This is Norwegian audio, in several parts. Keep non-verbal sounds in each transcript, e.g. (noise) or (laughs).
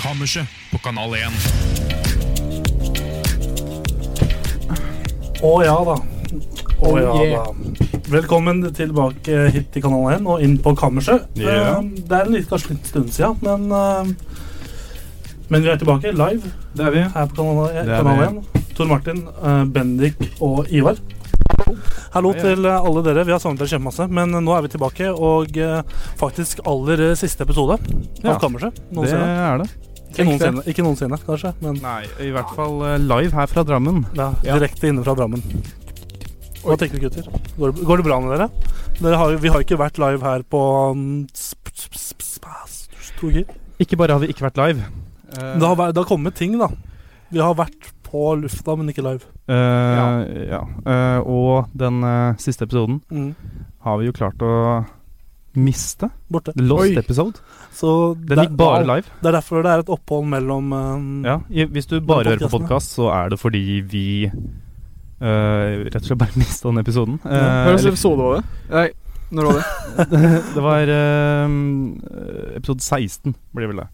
Kammerset på Kanal 1. Å ja da. Å Å ja yeah. Velkommen tilbake hit til Kanal 1 og inn på kammerset. Ja. Eh, Det er en litt, kanskje litt stund siden, men, eh, men vi er tilbake live Det er vi. her på Kanal Det 1. er Kanal 1. Tor Martin, eh, Bendik og Ivar. Hallo Hei, hei. til eh, alle dere. Vi har savnet dere kjempemasse, men eh, nå er vi tilbake. Og eh, faktisk aller eh, siste episode Ja. av Kammerset. Det Noensinne. er det. Ikke noensinne, ikke noensinne, kanskje, men Nei, i hvert fall eh, live her fra Drammen. Ja, Ja. direkte inne fra Drammen. Hva tenker du, gutter? Går det, går det bra med dere? dere har, jo- vi har jo ikke vært live her på mm, sp- sp- sp- sp- sp- to uker. Ikke bare har vi ikke vært live. eh, Det har, vært- det har kommet ting, da. Vi har vært på lufta, men ikke live. eh, ja. eh, og den eh, siste episoden Mm. har vi jo klart å miste. Borte. The Lost Oi. episode. Så Den gikk bare live. Det er derfor det er et opphold mellom eh, Ja, i- Hvis du bare hører på podcasten, ja. podkast, så er det fordi vi eh, rett og slett bare (laughs) mista den episoden. Eh, Hva slags eller- episode var det? Nei, når var det? det var eh, episode 16, blir vel det.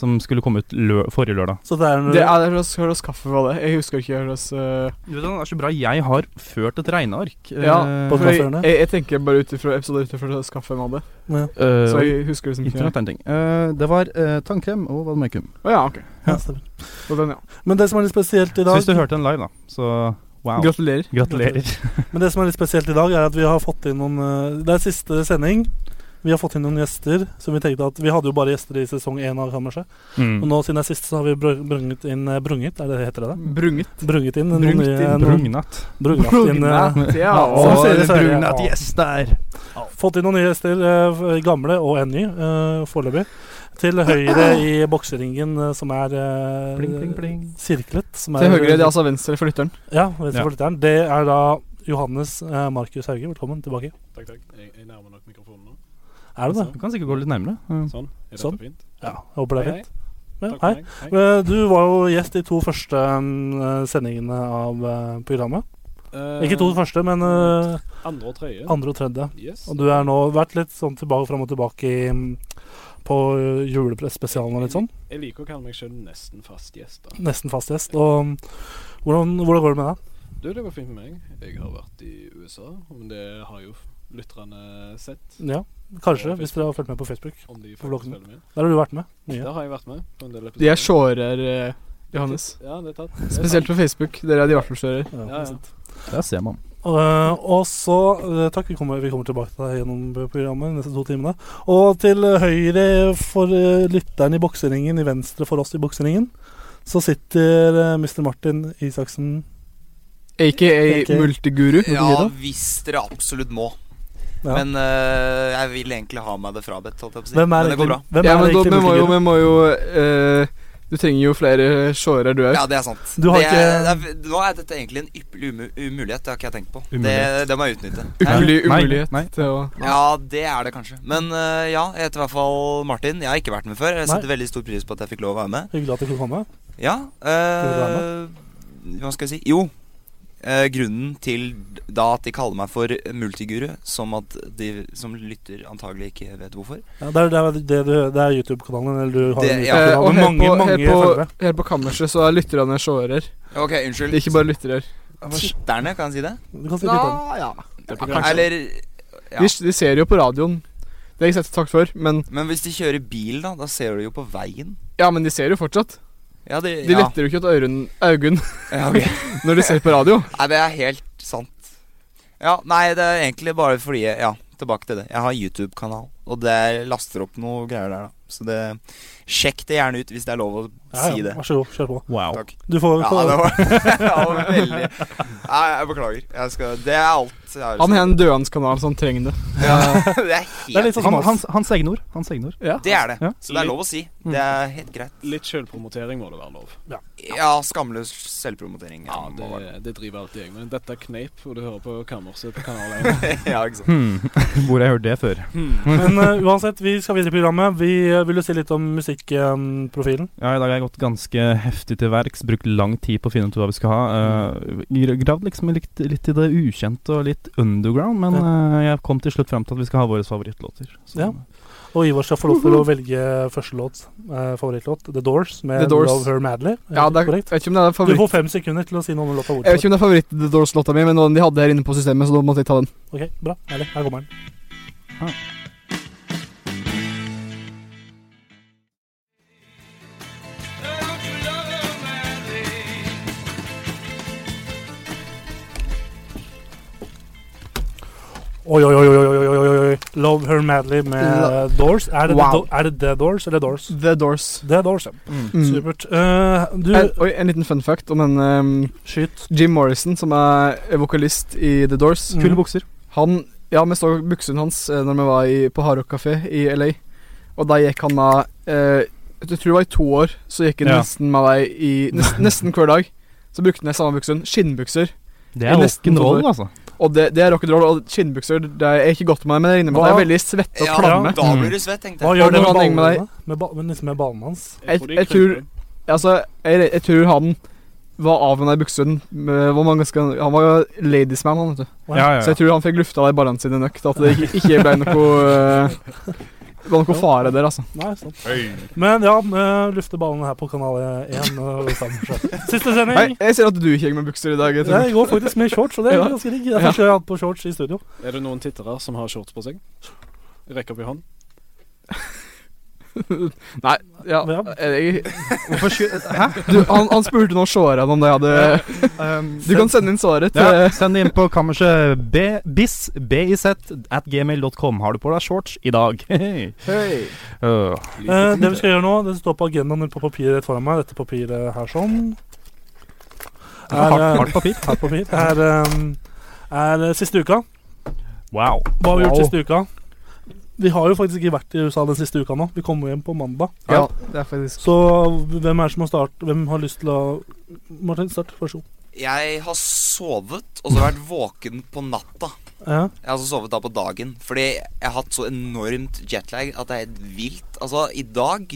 Som skulle komme ut lø forrige lørdag. Så det er, (laughs) Det er hva slags kaffe var det? Jeg husker ikke hva slags eh, Du vet, Det er så bra jeg har ført et regneark. Ja, Eh, for jeg, kaffehjørnet? jeg, jeg tenker bare ut ifra episoder ut ifra hva slags kaffe man hadde. ja. eh, Så jeg husker liksom ikke Internett er en ting. Eh, det var eh, tannkrem og vannmøkum. Å ja, ok. Ja, stemmer. Og den, ja. Men det som er litt spesielt i Så dag hvis du hørte den live, da, så wow. Gratulerer. Gratulerer. Men det som er litt spesielt i dag, er at vi har fått inn noen eh, Det er siste sending. Vi har fått inn noen gjester. som Vi tenkte at Vi hadde jo bare gjester i sesong én av Kammerset. Og Mm. nå siden det er siste, så har vi br- brunget inn eh, Brunget, er det det heter det? Brunget. Brunget inn noen Brungt nye- inn, noen- Brugnatt. Brunget inn eh, Brugnet. Ja. Som Å, ser det ut som- brugnatt gjest der. Fått inn noen nye gjester, eh, f- gamle og en ny, eh, foreløpig. Til høyre i bokseringen eh, som er eh, Pling, pling, pling. sirklet. Som Til høyre, det er altså venstre for lytteren. Ja, venstre Ja. for lytteren. Det er da Johannes eh, Markus Hauge. Velkommen tilbake. Takk, takk. Jeg, jeg nærmer nok mikrofonen nå. Altså, Er du det? Du kan sikkert gå litt nærmere. Mm. Sånn. Er dette Sånn. fint? Ja. Jeg håper det er Hei, fint. Ja, Takk hei. for meg. Hei. Eh, Du var jo gjest i to første mm, sendingene av eh, programmet. Eh, Ikke to første, men eh, Andre og tredje. andre og tredje. Yes. Og du er nå vært litt sånn tilbake fram og tilbake i, mm, på julepresspesialen og litt sånn. Jeg liker å kalle meg selv nesten fast gjest. da. Nesten fast gjest. Og mm, hvordan, hvordan går det med deg? Du, det går fint med meg. Jeg har vært i USA, men det har jo lytterne Mm. sett. Ja, kanskje, hvis dere har fulgt med på Facebook. Om de På vloggen. faktisk følger med. Der har du vært med. Mye. Der har jeg vært med på en del episoder. De er shorere, eh, Johannes. Ja, det er tatt. Det er Spesielt tatt. på Facebook. Dere er de hvert fall shorere. Ja, Ja, ja. sant. Der ser man. Eh, og så eh, Takk, vi kommer, vi kommer tilbake til deg gjennom programmet de neste to timene. Og til høyre for eh, lytteren i bokseringen, i venstre for oss i bokseringen, så sitter eh, Mr. Martin Isaksen. Aka Aka. multiguru. Ja, hvis dere absolutt må. Ja. Men øh, jeg vil egentlig ha meg det frabedt. holdt jeg på å si. Hvem er Men det går egentlig, bra. hvem Ja, er men da, egentlig vi må jo, multiguru? vi må jo eh, Du trenger jo flere shorere, du òg. Ja, det er sant. Du har det er, ikke- det er, nå er dette egentlig en ypperlig umu umulighet. Det har ikke jeg tenkt på. Det, Umulighet. det må jeg utnytte. Umulig Nei, umulighet nei. til å Ja, det er det kanskje. Men øh, ja, jeg heter i hvert fall Martin. Jeg har ikke vært med før. Jeg Nei. setter veldig stor pris på at jeg fikk lov å være med. Hyggelig at du kunne komme. Ja, være øh, hva skal jeg si? Jo. øh, grunnen til da at de kaller meg for multiguru, som at de som lytter antagelig ikke vet hvorfor Ja, det er, det er, det du- det er YouTube-kanalen. Eller du har Det- en ja. YouTube-kanal Eh, med og her mange, på, mange her, på, følgere. her på kammerset så er lytterne shorere. Ok, De er unnskyld. ikke bare lyttere. Titterne, kan jeg si det? Du kan si litt om. ja. Det er på Kanskje. Eller ja. De, de ser jo på radioen. Det har jeg sett takk for, men Men hvis de kjører bil, da, da ser du jo på veien. Ja, men de ser jo fortsatt. Ja, det, De letter jo ikke et øyne ja, ok. (laughs) når de ser på radio. Nei, det er helt sant. Ja, nei, det er egentlig bare fordi jeg- Ja, tilbake til det. Jeg har YouTube-kanal, og der laster opp noe greier der, da. Så det Sjekk det gjerne ut hvis det er lov å Ja, si ja, det. vær så god, kjør på. Wow. Takk. Du får Ja, det var, (laughs) ja, det var veldig Nei, jeg beklager. Jeg skal, det er alt jeg har å Han si. har en dødhandskanal som trenger det. (laughs) Det er Det er helt litt sånn Han, som oss. hans, hans egne ord. Hans egne ord. Ja. Det er det. Ja. Så det er lov å si. Mm. Det er helt greit. Litt sjølpromotering må det være lov. Ja, skamløs selvpromotering. Ja, må være. det, det driver alltid jeg med. Dette er kneip, og du hører på Kammerset på Kanal 1. (laughs) ja, ikke sant. Hmm. (laughs) Hvor har jeg hørt det før? Men eh, uansett, vi skal videre i programmet. Vi eh, vil jo si litt om musikkprofilen. Ja, I dag har jeg gått ganske heftig til verks, brukt lang tid på å finne ut hva vi skal ha. eh, gr- gravd liksom litt, litt i det ukjente og litt underground, men eh, jeg kom til slutt fram til at vi skal ha våre favorittlåter. Så- Ja. Og Ivar skal få lov til å velge første låt, eh, favorittlåt, The Doors, med Mhm. The Doors. Love Her Madly. Er det Ja, det er, jeg korrekt? vet ikke om det er Du favoritt får fem sekunder til å si noen låt av Jeg vet ordet. ikke om det er favoritt The Doors-låta mi, men noen de hadde her inne på systemet, så da måtte jeg ta den. Ok, bra. Herlig. Her kommer den. Oi, oi, oi, oi, oi, oi, oi, oi. Love Her Madly med La- eh, Doors. Er det, Wow. The Do- er det The Doors eller Doors? The Doors. The Doors, ja. Mm. Supert. Eh, du, En, oi, en liten fun fact om en ehm, skyt. Jim Morrison, som er vokalist i The Doors. Mm. Kule bukser. Han Ja, vi så buksene hans eh, Når vi var i, på Hardrock Café i LA. Og da gikk han med eh, Jeg tror det var i to år, så gikk han Ja. nesten med deg i nesten, nesten hver dag. Så brukte han de samme buksene. Skinnbukser. Det er er rock'n'roll, rock'n'roll, altså. Og det, det er rock'n'roll. Og skinnbukser det er jeg ikke godt med, men jeg regner med at det Hva? er veldig svette og Ja, klamme. da blir du svett, tenkte Hva jeg. gjør det Nå med var han med ballene? Med, ba men liksom med ballene hans? Jeg- de jeg krymper. tror- Altså, jeg, jeg tror han var av med de buksene. med- var man ganske, han var jo ladiesman, han, vet du. Ja, Ja, ja, Så jeg tror han fikk lufta de barene sine nok til at det ikke, ikke ble noe eh, Det var noe fare der, altså. Nei, sant. Hey. Men ja, eh, lufte ballene her på Kanal 1. eh, sammen, så. Siste Nei, sending. jeg ser at du ikke gikk med bukser i dag. Jeg tror. Jeg går faktisk med shorts, og det er Ja. ganske digg. Det er første gang jeg har hatt på shorts i studio. Er det noen tittere som har shorts på seg? Rekk opp i hånd. Nei, ja, Ja. jeg, Hæ? Du, han, han spurte nå seerne om det hadde Eh, Du kan sende inn svaret til ja, Send det inn på kammerset b- bis biz at gmail.com. Har du på deg shorts i dag? (laughs) Hei. Øh. Eh, det vi skal gjøre nå, det står på agendaen på papiret rett foran meg. Dette papiret her sånn. Er, hardt, eh, hardt papir. (laughs) hardt papir. Er, eh, er eh, siste uka. Wow. Hva har vi gjort Wow. siste uka? Vi har jo faktisk ikke vært i USA den siste uka nå. Vi kommer hjem på mandag. Ja, det er faktisk Så hvem er det som har start? Hvem har lyst til å Martin, start. Vær så god. Jeg har sovet, og så har jeg vært våken på natta. Ja. Jeg har altså sovet da på dagen, fordi jeg har hatt så enormt jetlag at det er helt vilt. Altså, i dag,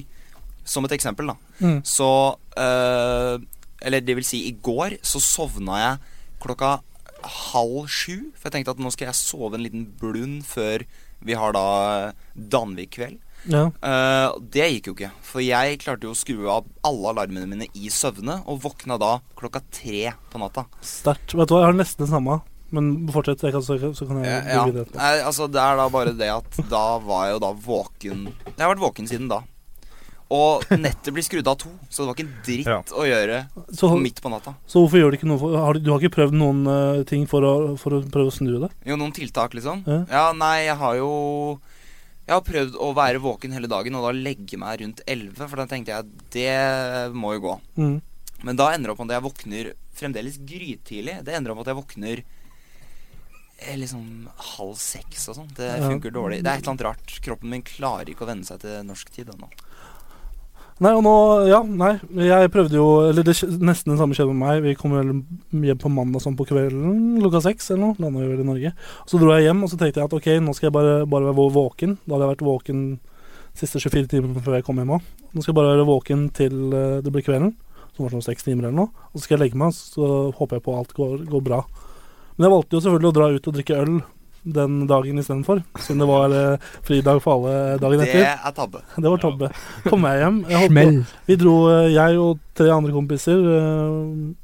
som et eksempel, da, Mm. så eh, Eller det vil si, i går så sovna jeg klokka halv sju. For jeg tenkte at nå skal jeg sove en liten blund før vi har da Danvik-kveld. ja. Eh, det gikk jo ikke. For jeg klarte jo å skru av alle alarmene mine i søvne, og våkna da klokka tre på natta. Sterkt. Vet du hva, jeg har nesten det samme. Men fortsett, jeg kan, så, så kan jeg Eh, gå ja. videre etterpå. Nei, altså, det er da bare det at da var jeg jo da våken Jeg har vært våken siden da. Og nettet blir skrudd av to, så det var ikke en dritt Ja. å gjøre Så, midt på natta. så hvorfor gjør du ikke noe for, har, du- Du har ikke prøvd noen eh, ting for å, for å prøve å snu det? Jo, noen tiltak, liksom. Ja. Ja, nei, jeg har jo Jeg har prøvd å være våken hele dagen, og da legge meg rundt elleve, for da tenkte jeg det må jo gå. Mm. Men da ender det opp med at jeg våkner fremdeles grytidlig. Det ender opp med at jeg våkner eh, liksom halv seks og sånn. Det Ja. funker dårlig. Det er et eller annet rart. Kroppen min klarer ikke å venne seg til norsk tid ennå. Nei, og nå Ja, nei. Jeg prøvde jo Eller det, skj- nesten det samme skjedde med meg. Vi kom vel hjem på mandag sånn på kvelden klokka seks eller noe. Landa jo vel i Norge. Så dro jeg hjem, og så tenkte jeg at ok, nå skal jeg bare, bare være vå- våken. Da hadde jeg vært våken siste 24 timer før jeg kom hjem òg. Nå skal jeg bare være våken til eh, det blir kvelden, som var sånn seks timer eller noe. Og så skal jeg legge meg, så håper jeg på alt går, går bra. Men jeg valgte jo selvfølgelig å dra ut og drikke øl den dagen istedenfor, siden det var eh, fridag for alle dagen Det etter. er tabbe. (laughs) Det var tabbe. Kom jeg hjem. Jeg holdt på- vi dro, eh, jeg og tre andre kompiser eh,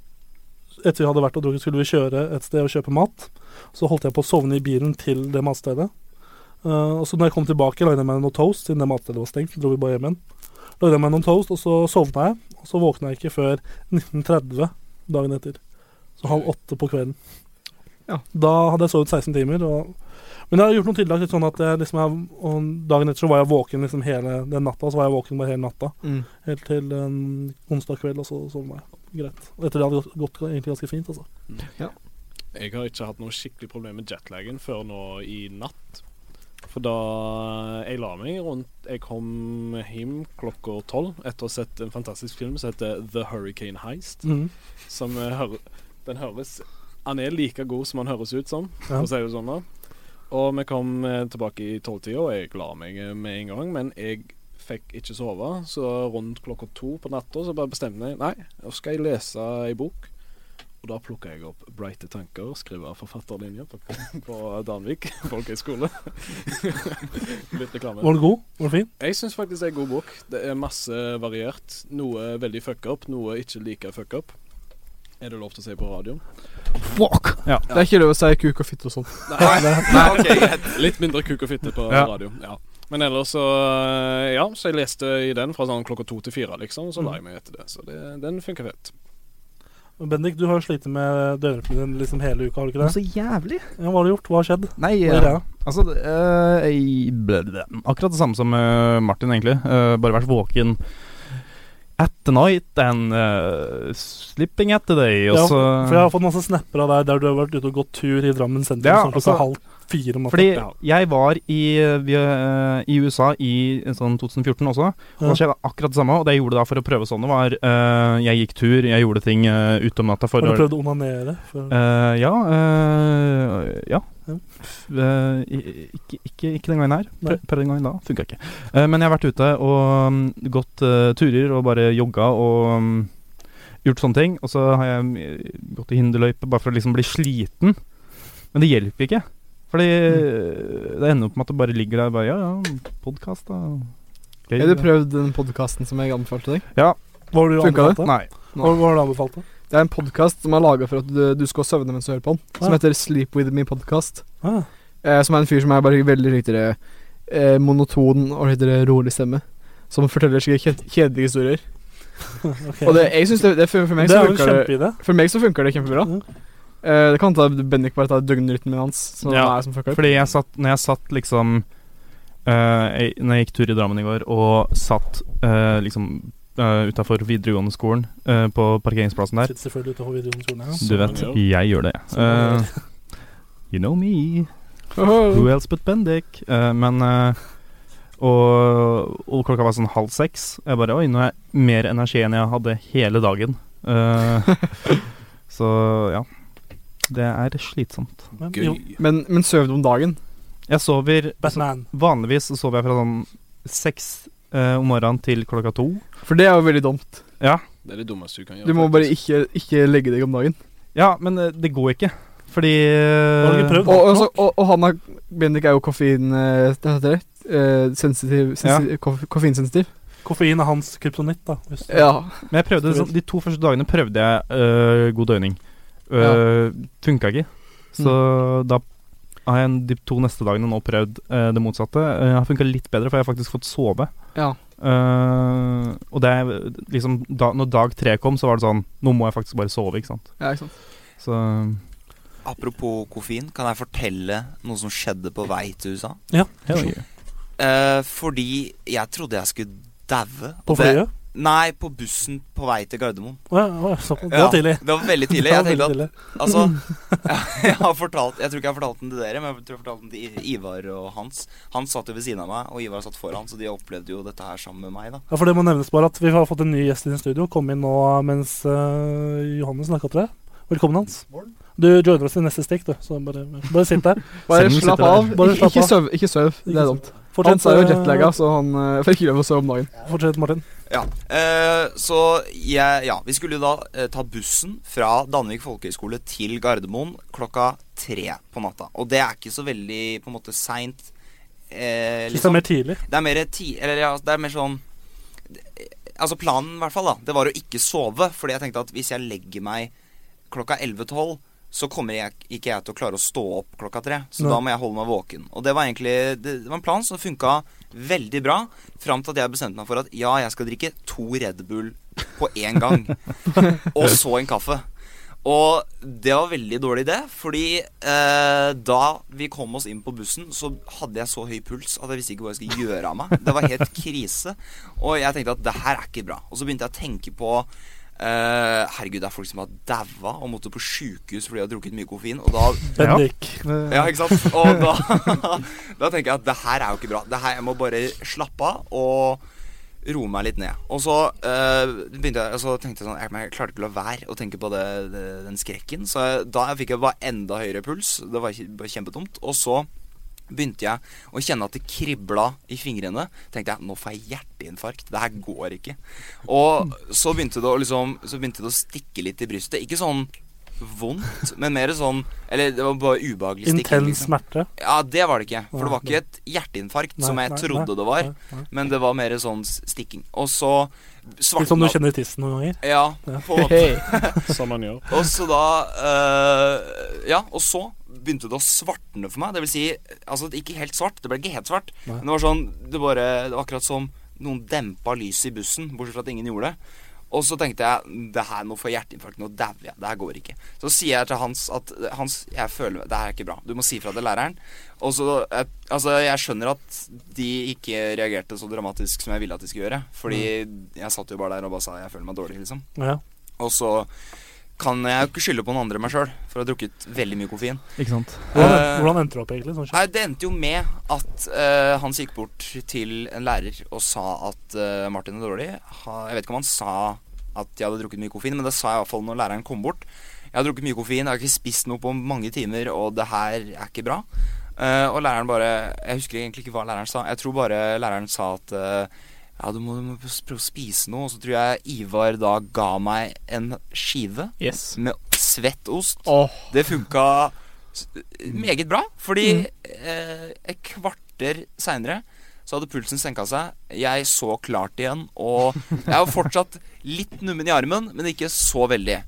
Etter vi hadde vært og drukket, skulle vi kjøre et sted og kjøpe mat. Så holdt jeg på å sovne i bilen til det matstedet. Eh, og så når jeg kom tilbake, lagde jeg meg noe toast, siden det matstedet var stengt. så Dro vi bare hjem igjen. Lagde jeg meg noen toast, og så sovna jeg. Og så våkna jeg ikke før 19.30 dagen etter. Så halv åtte på kvelden. Ja. Da hadde jeg sovet 16 timer. Og, men jeg har gjort noen tiltak litt sånn at jeg liksom er, og dagen etter så var jeg våken liksom hele den natta. Så var jeg våken bare hele natta. Mm. Helt til um, onsdag kveld, og så sovna jeg. Greit. Og etter det hadde det gått, gått egentlig ganske fint, altså. Jeg har ikke hatt noe skikkelig problem med jetlagen før nå i natt. For da jeg la meg rundt Jeg kom hjem klokka tolv etter å ha sett en fantastisk film som heter The Hurricane Heist. Mm. Som eh, hører, den høres Han er like god som han høres ut som, Ja. for å si det sånn. da Og vi kom eh, tilbake i tolvtida, og jeg la meg eh, med en gang. Men jeg fikk ikke sove, så rundt klokka to på natta så bare bestemte jeg Nei, nå skal jeg lese ei bok. Og da plukka jeg opp 'Brighte tanker', skrive forfatterlinja på, (laughs) på Danvik folkehøgskole. (laughs) Litt reklame. Var den god? Var den fin? Jeg syns faktisk det er en god bok. Det er masse variert. Noe veldig fuck up, noe ikke like fuck up. Er det lov til å si på radioen? Fuck! Ja. Det er ikke lov å si kuk og fitte og sånn. (laughs) Nei, ok, greit. Litt mindre kuk og fitte på Ja. radio. Ja. Men ellers så Ja, så jeg leste i den fra sånn klokka to til fire, liksom. Så la jeg meg etter det. Så det, den funker fett. Bendik, du har jo slitt med døråpningen din liksom hele uka, har du ikke det? Så jævlig! Ja, hva har du gjort? Hva har skjedd? Nei, Hva eh, er greia? Altså, det, eh, jeg, ble- ble- akkurat det samme som eh, Martin, egentlig. Eh, bare vært våken at the night and eh, sleeping at the day. Og Ja, så, For jeg har fått masse snapper av deg der du har vært ute og gått tur i Drammen sentrum Ja, sånn klokka altså- halv fire om natta. fordi Ja. jeg var i, eh, vi, eh, i USA i sånn 2014 også, og Ja. da skjedde akkurat det samme. Og det jeg gjorde da for å prøve sånne, var eh, Jeg gikk tur, jeg gjorde ting uh, ute om natta for Har du å prøvd å onanere? For... Eh, ja eh, Ja. Mm. Ja. F- eh, i- ikke, ikke, ikke den gangen her. Nei. Prøv prøv den gangen da. Funka ikke. Eh, men jeg har vært ute og mm, gått eh, turer og bare jogga og mm, gjort sånne ting. Og så har jeg mm, gått i hinderløype bare for å liksom bli sliten. Men det hjelper ikke. Fordi Mm. eh, det ender opp med at det bare ligger der og bare Ja, ja, podkast, da. Gøy, Har du da. prøvd den podkasten som jeg anbefalte deg? Hva har du Funka anbefalt? da? Nei. Hva, hva har du anbefalt? da? Det er en podkast som er laga for at du, du skal sovne mens du hører på den. Som Ja. heter Sleep With Me Podcast. Ah, Eh, som er en fyr som er bare veldig litt eh, monoton og litt rolig stemme. Som forteller seg kjed kjedelige historier. ok. Og det, jeg synes det, det for, for, meg det så er jo en funker det, kjempeidé. for meg så funker det kjempebra. Eh, det kan ta Bendik bare tar døgnrytmen hans. Som Ja. er som fucker. Fordi jeg satt, når jeg satt liksom eh, jeg, Når jeg gikk tur i Drammen i går og satt eh, liksom uh, utafor videregående skolen eh, på parkeringsplassen der Sitter selvfølgelig ute på videregående skolen. Ja. Du vet, jeg gjør det. Eh, you know me. Who else but Bendik? Eh, men eh, og, og klokka var sånn halv seks. Jeg bare Oi, nå har jeg mer energi enn jeg hadde hele dagen. Eh, (laughs) så ja. Det er slitsomt. Men, jo, Gøy. Men, men søv du om dagen? Jeg sover Batman. Vanligvis så sover jeg fra sånn seks eh, om morgenen til klokka to. For det er jo veldig dumt. Det er det dummeste du kan gjøre. Du må bare faktisk. ikke, ikke legge deg om dagen. Ja, men eh, det går ikke. Fordi Har du ikke prøvd? Og, og, så- og, og han er Bendik er jo koffein... eh, Hva heter det? Eh, sensitiv, sensitiv koff- Koffeinsensitiv. Koffein er hans kryptonitt, da. Hvis du- Ja. Men jeg prøvde sånn, de to første dagene prøvde jeg eh, god døgning. Uh, Funka ikke. Så Mm. da har jeg de to neste dagene nå prøvd eh, det motsatte. Eh, har funka litt bedre, for jeg har faktisk fått sove. Ja. Eh, og det er liksom da, Når dag tre kom, så var det sånn Nå må jeg faktisk bare sove, ikke sant. ja ikke sant. Så Apropos koffein, kan jeg fortelle noe som skjedde på vei til USA? Hell yeah. Eh, fordi jeg trodde jeg skulle daue. På Det- flyet? Nei, på bussen på vei til Gardermoen. Å, ja, å, ja, såpass. Det var tidlig. Ja, det var (laughs) veldig tidlig. Det Jeg var tenkte at veldig tidlig. Altså, (laughs) jeg har fortalt Jeg tror ikke jeg har fortalt den til dere, men jeg tror jeg har fortalt den til I- Ivar og Hans. Han satt jo ved siden av meg, og Ivar satt foran, så de opplevde jo dette her sammen med meg, da. Ja, for det må nevnes bare at Vi har fått en ny gjest inn i studio. Kom inn nå mens eh, Johannes snakka til deg. Velkommen, Hans. Du joiner oss i neste stikk, du. Så bare, bare sitt der. Bare Selv om du slapp sitter av. der. Bare Ikke, slapp ikke av. søv. Ikke søv. Ikke Det er søv. dumt. Hans er jo eh, jettlagga, så han eh, får ikke lov å sove om dagen. Fortsett, Martin. Ja, eh, Så jeg, ja, vi skulle jo da eh, ta bussen fra Danvik folkehøgskole til Gardermoen klokka tre på natta. Og det er ikke så veldig på en måte seint. Hvis Eh, det er liksom. mer tidlig. Det er mer ti... Eller ja, det er mer sånn Altså planen, i hvert fall, da, det var å ikke sove. Fordi jeg tenkte at hvis jeg legger meg klokka 11-12, så kommer jeg, ikke jeg til å klare å stå opp klokka tre. Så Nei. da må jeg holde meg våken. Og det var egentlig Det, det var en plan som funka veldig bra, fram til at jeg bestemte meg for at ja, jeg skal drikke to Red Bull på én gang. og så en kaffe. Og det var veldig dårlig idé, fordi eh, da vi kom oss inn på bussen, så hadde jeg så høy puls at jeg visste ikke hva jeg skulle gjøre av meg. Det var helt krise. Og jeg tenkte at det her er ikke bra. Og så begynte jeg å tenke på eh, herregud, det er folk som har daua og måtte på sjukehus fordi de har drukket mye koffein. Og da Bendik. ja, ikke sant? Og da, (laughs) da tenker jeg at det her er jo ikke bra. Det her, jeg må bare slappe av og roe meg litt ned. Og så eh, begynte jeg, så tenkte jeg sånn Jeg, men jeg klarte ikke å la være å tenke på det, det, den skrekken. Så jeg, da jeg fikk jeg bare enda høyere puls. Det var kj- bare kjempedumt. Og så begynte jeg å kjenne at det kribla i fingrene. tenkte jeg nå får jeg hjerteinfarkt. Det her går ikke. Og så begynte det å liksom Så begynte det å stikke litt i brystet. Ikke sånn vondt, men mer sånn Eller det var bare ubehagelig stikking. Intens liksom. smerte. Ja, det var det ikke. For det var Nei, ikke et hjerteinfarkt, Nei, som jeg nei, trodde nei, det var. nei, nei. Men det var mer sånn s- stikking. Og så Litt som du svartna kjenner i tissen noen ganger. Ja, Ja. på en måte. Hey. Som man gjør. (laughs) Og så da eh, Ja, og så begynte det å svartne for meg. Det vil si, altså det ikke helt svart. Det ble ikke helt svart. Nei. Men det var sånn Det bare Det var akkurat som noen dempa lyset i bussen, bortsett fra at ingen gjorde det. Og så tenkte jeg det her nå får jeg hjerteinfarkt, nå dauer jeg. Det her går ikke. Så sier jeg til Hans at Hans, jeg føler det her er ikke bra. Du må si fra til læreren. Og så jeg- Altså, jeg skjønner at de ikke reagerte så dramatisk som jeg ville at de skulle gjøre. Fordi jeg satt jo bare der og bare sa jeg føler meg dårlig, liksom. Ja. Og så kan jeg jo ikke skylde på noen andre enn meg sjøl, for jeg har drukket veldig mye koffein. Ikke sant? Hvordan, Eh, hvordan endte det opp, egentlig? Sånn, kjapt? Nei, Det endte jo med at eh, Hans gikk bort til en lærer og sa at eh, Martin er dårlig. Ha, jeg vet ikke om han sa at jeg hadde drukket mye koffein, men det sa jeg i hvert fall når læreren kom bort. Jeg har drukket mye koffein, jeg har ikke spist noe på mange timer, og det her er ikke bra. Eh, og læreren bare Jeg husker egentlig ikke hva læreren sa. Jeg tror bare læreren sa at eh, ja, du må, du må prøve å spise noe. Og så tror jeg Ivar da ga meg en skive Yes. med svett ost. Åh, Det funka s- meget bra, fordi eh, et kvarter seinere så hadde pulsen senka seg. Jeg så klart igjen, og jeg var fortsatt litt nummen i armen, men ikke så veldig.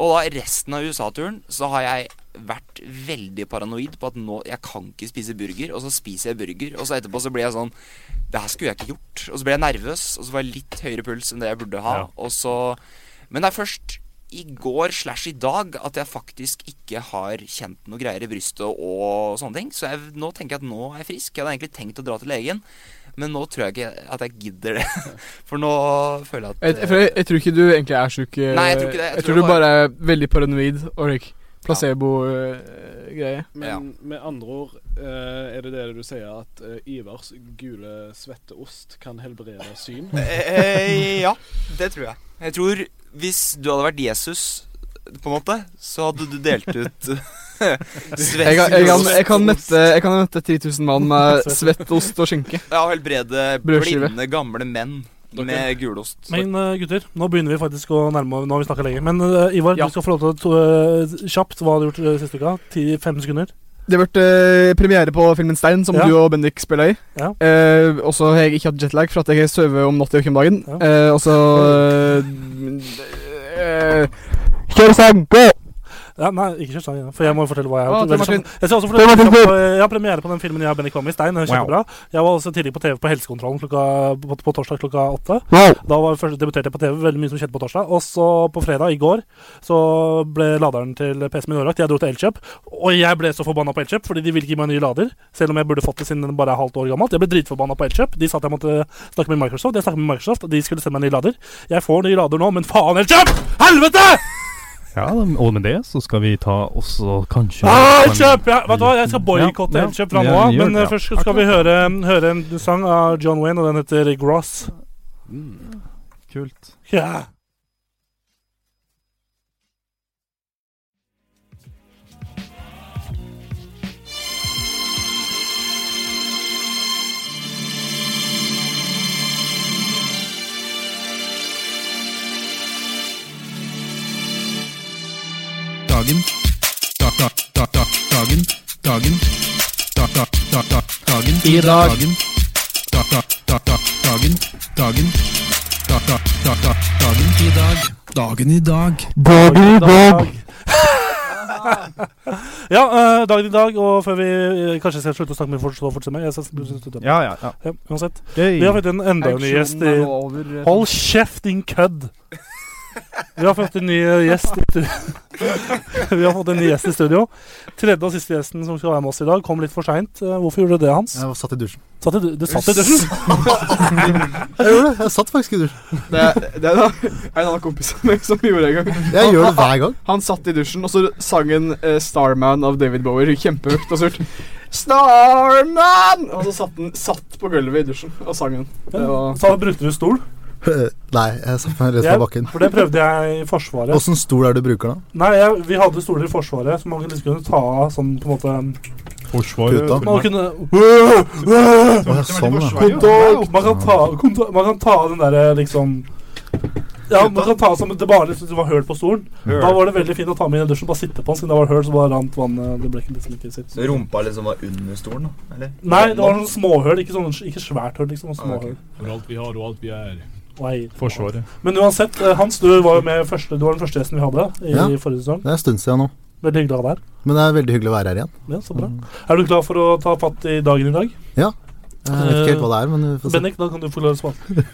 Og da resten av USA-turen så har jeg vært veldig paranoid på at nå Jeg kan ikke spise burger, og så spiser jeg burger, og så etterpå så blir jeg sånn Det her skulle jeg ikke gjort. Og så ble jeg nervøs, og så var jeg litt høyere puls enn det jeg burde ha, Ja. og så Men det er først i går slash i dag at jeg faktisk ikke har kjent noe greier i brystet og sånne ting. Så jeg, nå tenker jeg at nå er jeg frisk. Jeg hadde egentlig tenkt å dra til legen, men nå tror jeg ikke at jeg gidder det. (laughs) For nå føler jeg jeg, at jeg, for jeg, jeg tror ikke du egentlig er sjuk. eh, Nei, jeg tror ikke det. Jeg Jeg tror tror du det bare er veldig paranoid eh, og like, placebo-greie. Men Ja. med andre ord eh, er det det du sier, at eh, Ivars gule svetteost kan helbrede syn? Eh, ja, det tror jeg. Jeg tror hvis du hadde vært Jesus, på en måte, så hadde du delt ut (laughs) svett Jeg, kan- jeg, kan- jeg kan mette Jeg kan mette 10 000 mann (laughs) med svett ost og skinke. Ja, og helbrede Brødskive. blinde, gamle menn med gulost. Men eh, gutter, nå begynner vi faktisk å nærme oss Nå har vi snakka lenge. Men eh, Ivar, Ja. du skal få lov til å to, eh, kjapt hva har du gjort eh, siste uka. Ti, fem sekunder. Det har vært eh, premiere på filmen Stein, som Ja. du og Bendik spiller i. Ja. Eh, og så har jeg ikke hatt jetlag, for at jeg sover om natta og ikke om dagen. Ja. Eh, (laughs) og så eh, eh, Kjør sang, gå! Ja, nei, ikke kjør sang, ja, for jeg må fortelle hva jeg har Å, gjort. Tor Martin. Veldig kjapt. Jeg skal også Tor Martin, fortelle Tor. på, Jeg har premiere på den filmen jeg og Bendik var med i, Stein. den er Kjempebra. Jeg var også tidlig på TV på Helsekontrollen klokka, på, på torsdag klokka åtte. Wow. Da var jeg først, debuterte jeg på TV, veldig mye som skjedde på torsdag. Og så på fredag, i går, så ble laderen til PC-en min ødelagt. Jeg dro til Elkjøp, og jeg ble så forbanna på Elkjøp fordi de ville ikke gi meg en ny lader. Selv om jeg burde fått det siden den bare er halvt år gammelt. Jeg ble dritforbanna på Elkjøp. De sa at jeg måtte snakke med Microsoft. Jeg snakket med Microsoft, og de skulle sende meg en ny lader. Jeg får ny lader nå, men faen, Elkjøp! Helvete! (laughs) Ja, og med det så skal vi ta også kanskje Ah, Elkjøp! Ja, vet du hva, jeg skal boikotte Ja, ja. Elkjøp fra Ja, nå av. gjør Men det, eh, ja. først skal vi høre, eh, høre en sang av John Wayne, og den heter Gross. Kult. Ja. Dagen. Da, da, da, da, dagen. Dagen. Da, da, da, da, dagen. I dag. Dagen. Da, da, da, da, dagen. Dagen. Da, da, da, da, dagen. I dag. Dagen i dag. (laughs) ja, eh, dagen i dag, og før vi eh, kanskje skal slutte å snakke med folk, så fortsetter vi. Jeg skal slutte. Ja, ja. ja. Ja, uansett. Gøy. eh, Vi har fått en enda en ny gjest i Hold kjeft, din kødd! Vi har fått en ny eh, gjest i stu- (laughs) Vi har fått en ny gjest i studio. Tredje og siste gjesten som skal være med oss i dag, kom litt for seint. Eh, Hvorfor gjorde du det, Hans? Jeg var satt i dusjen. Satt i, du- du satt i dusjen? Jeg gjorde det. Jeg satt faktisk i dusjen. Det, det er en en annen kompis av meg som gjorde det en gang. Jeg gjør det hver gang. Han satt i dusjen, og så sang han eh, 'Starman' av David Bower kjempehøyt og surt. Starman! Og så satt han satt på gulvet i dusjen og sang den. Det var Så brukte du stol, Nei, jeg satt meg rett fra Jeg- bakken. for det prøvde jeg i Forsvaret. Åssen stol er det du bruker, da? Nei, jeg, vi hadde stoler i Forsvaret som man liksom kunne ta av sånn på en måte Forsvaret Puta. Man kunne Å, sånn, ja. Kontak! Man kan ta, kontak, man kan ta av den derre liksom ja, man kan ta av som det bare liksom, det var høl på stolen. Da var det veldig fint å ta med i dusjen. Bare sitte på den, siden det var høl, så bare rant vannet. Det ble ikke liksom ikke sitt. Så rumpa liksom var under stolen, da? Eller? Nei, det var sånn småhøl, ikke, sånn, ikke svært høl. liksom, sånn småhøl. Alt vi har og alt vi er. Nei. Forsvaret. Men uansett, eh, Hans, du var jo med første, du var den første gjesten vi hadde i Ja. forrige sesong. Det er en stund siden nå. Veldig hyggelig å ha deg her. Men det er veldig hyggelig å være her igjen. Ja, så bra. Er du klar for å ta fatt i dagen i dag? Jeg vet ikke helt hva det er, men vi får se. Bennik, da kan du få lov å svare.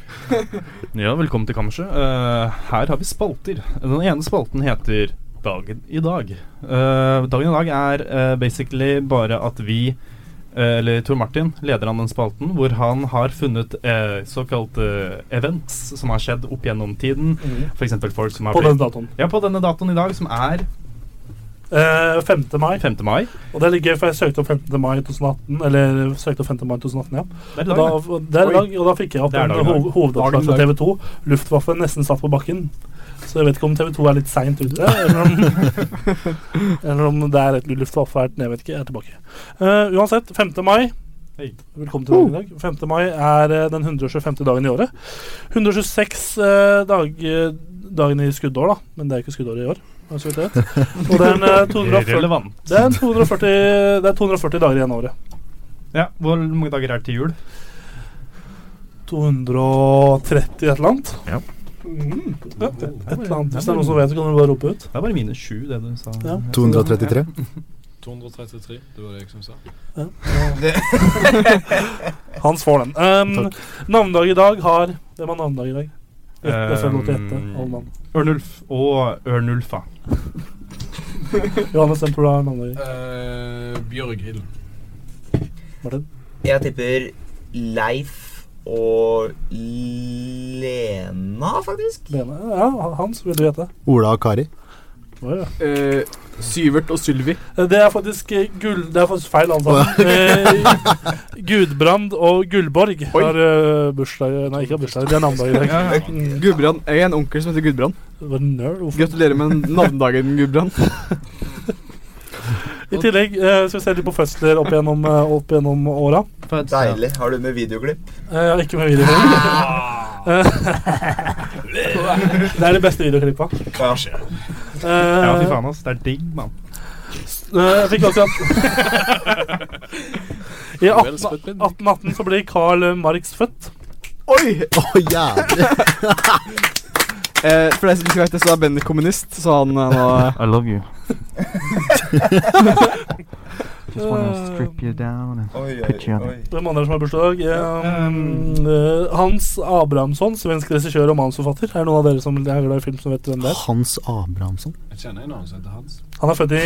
Ja, velkommen til kammerset. Eh, her har vi spalter. Den ene spalten heter Dagen i dag. Eh, dagen i dag er eh, basically bare at vi, eh, eller Tor Martin, leder an den spalten, hvor han har funnet eh, såkalte events som har skjedd opp gjennom tiden. F.eks. folk som har På den datoen. Ja, på denne datoen i dag, som er Eh, 5. mai. 5. mai. Og det er litt gøy, for jeg søkte opp 15. mai 2018. Eller søkte opp 15. mai 2018, ja. Det er i dag, Og da, da. det er i Oi. dag, og da fikk jeg opp Det er en dag i dag. hov, hovedoppslag Dagen i fra dag. TV 2. Luftwaffen nesten satt på bakken. Så jeg vet ikke om TV 2 er litt seint ute, eller om, (laughs) eller om det er et Luftwaffe her. Jeg vet ikke, jeg er tilbake. Eh, uansett, 5. mai. Hei. Velkommen til dagen i dag. 5. mai er eh, den 125. dagen i året. 126 eh, dag, eh, dagen i skuddår, da. Men det er ikke skuddår i år. Så vidt jeg vet. Og det er en, eh, (laughs) 240, Relevant. det er en 240, det er 240 dager igjen av året. Ja, Hvor mange dager er det til jul? 230 et eller annet. Ja. Mm. Ja, et et eller annet. Hvis det er noen som vet, så kan du bare rope ut. Det er bare minus sju, det du sa. Ja. 233. 233, det var det jeg som sa. Hans får den. Um, navnedag i dag har Hvem har navnedag i dag? Gjett- Jeg får lov til å gjette. Um, alle navn. Ørnulf og Ørnulfa. Johannes, hvem tror du har navnedag i dag? Bjørghild. Martin? Jeg tipper Leif og Lena, faktisk. Lene? Ja, Hans, vil du gjette? Ola og Kari. Oi, ja. eh, Syvert og Sylvi. Det er faktisk eh, gull... Det er faktisk feil, alle sammen. Eh, Gudbrand og Gullborg Oi. har eh, bursdag Nei, ikke har bursdag, de har navnedag i dag. Mm. Gudbrand. Jeg er en onkel som heter Gudbrand. Hva nerd? Hvorfor Gratulerer med navnedagen, Gudbrand. I tillegg eh, skal vi se litt på fødsler opp gjennom, eh, opp gjennom åra. Deilig. Har du med videoklipp? Eh, jeg har ikke med videoklipp. Ah. Eh, (laughs) det er de beste videoklippa. Ja. Ja, fy Eh, faen, ass. Det er digg, mann. eh, jeg fikk også at (laughs) I Vel 18 spytt inn. 1818 så blir Carl Marx født. Oi! Å, jævlig. Eh, for deg som ikke vet det, så er Bendik kommunist, så han, eh, var I love you. Just wanna strip you down Oi, um. Pitch, ja. oi. Eh, Hvem andre som har bursdag i dag? Eh, eh, Hans Abrahamsson, svensk regissør og manusforfatter. Er det noen av dere som er glad i film, som vet hvem det er? Hans Abrahamsson. Jeg kjenner en annen som heter Hans. Han er født (laughs) i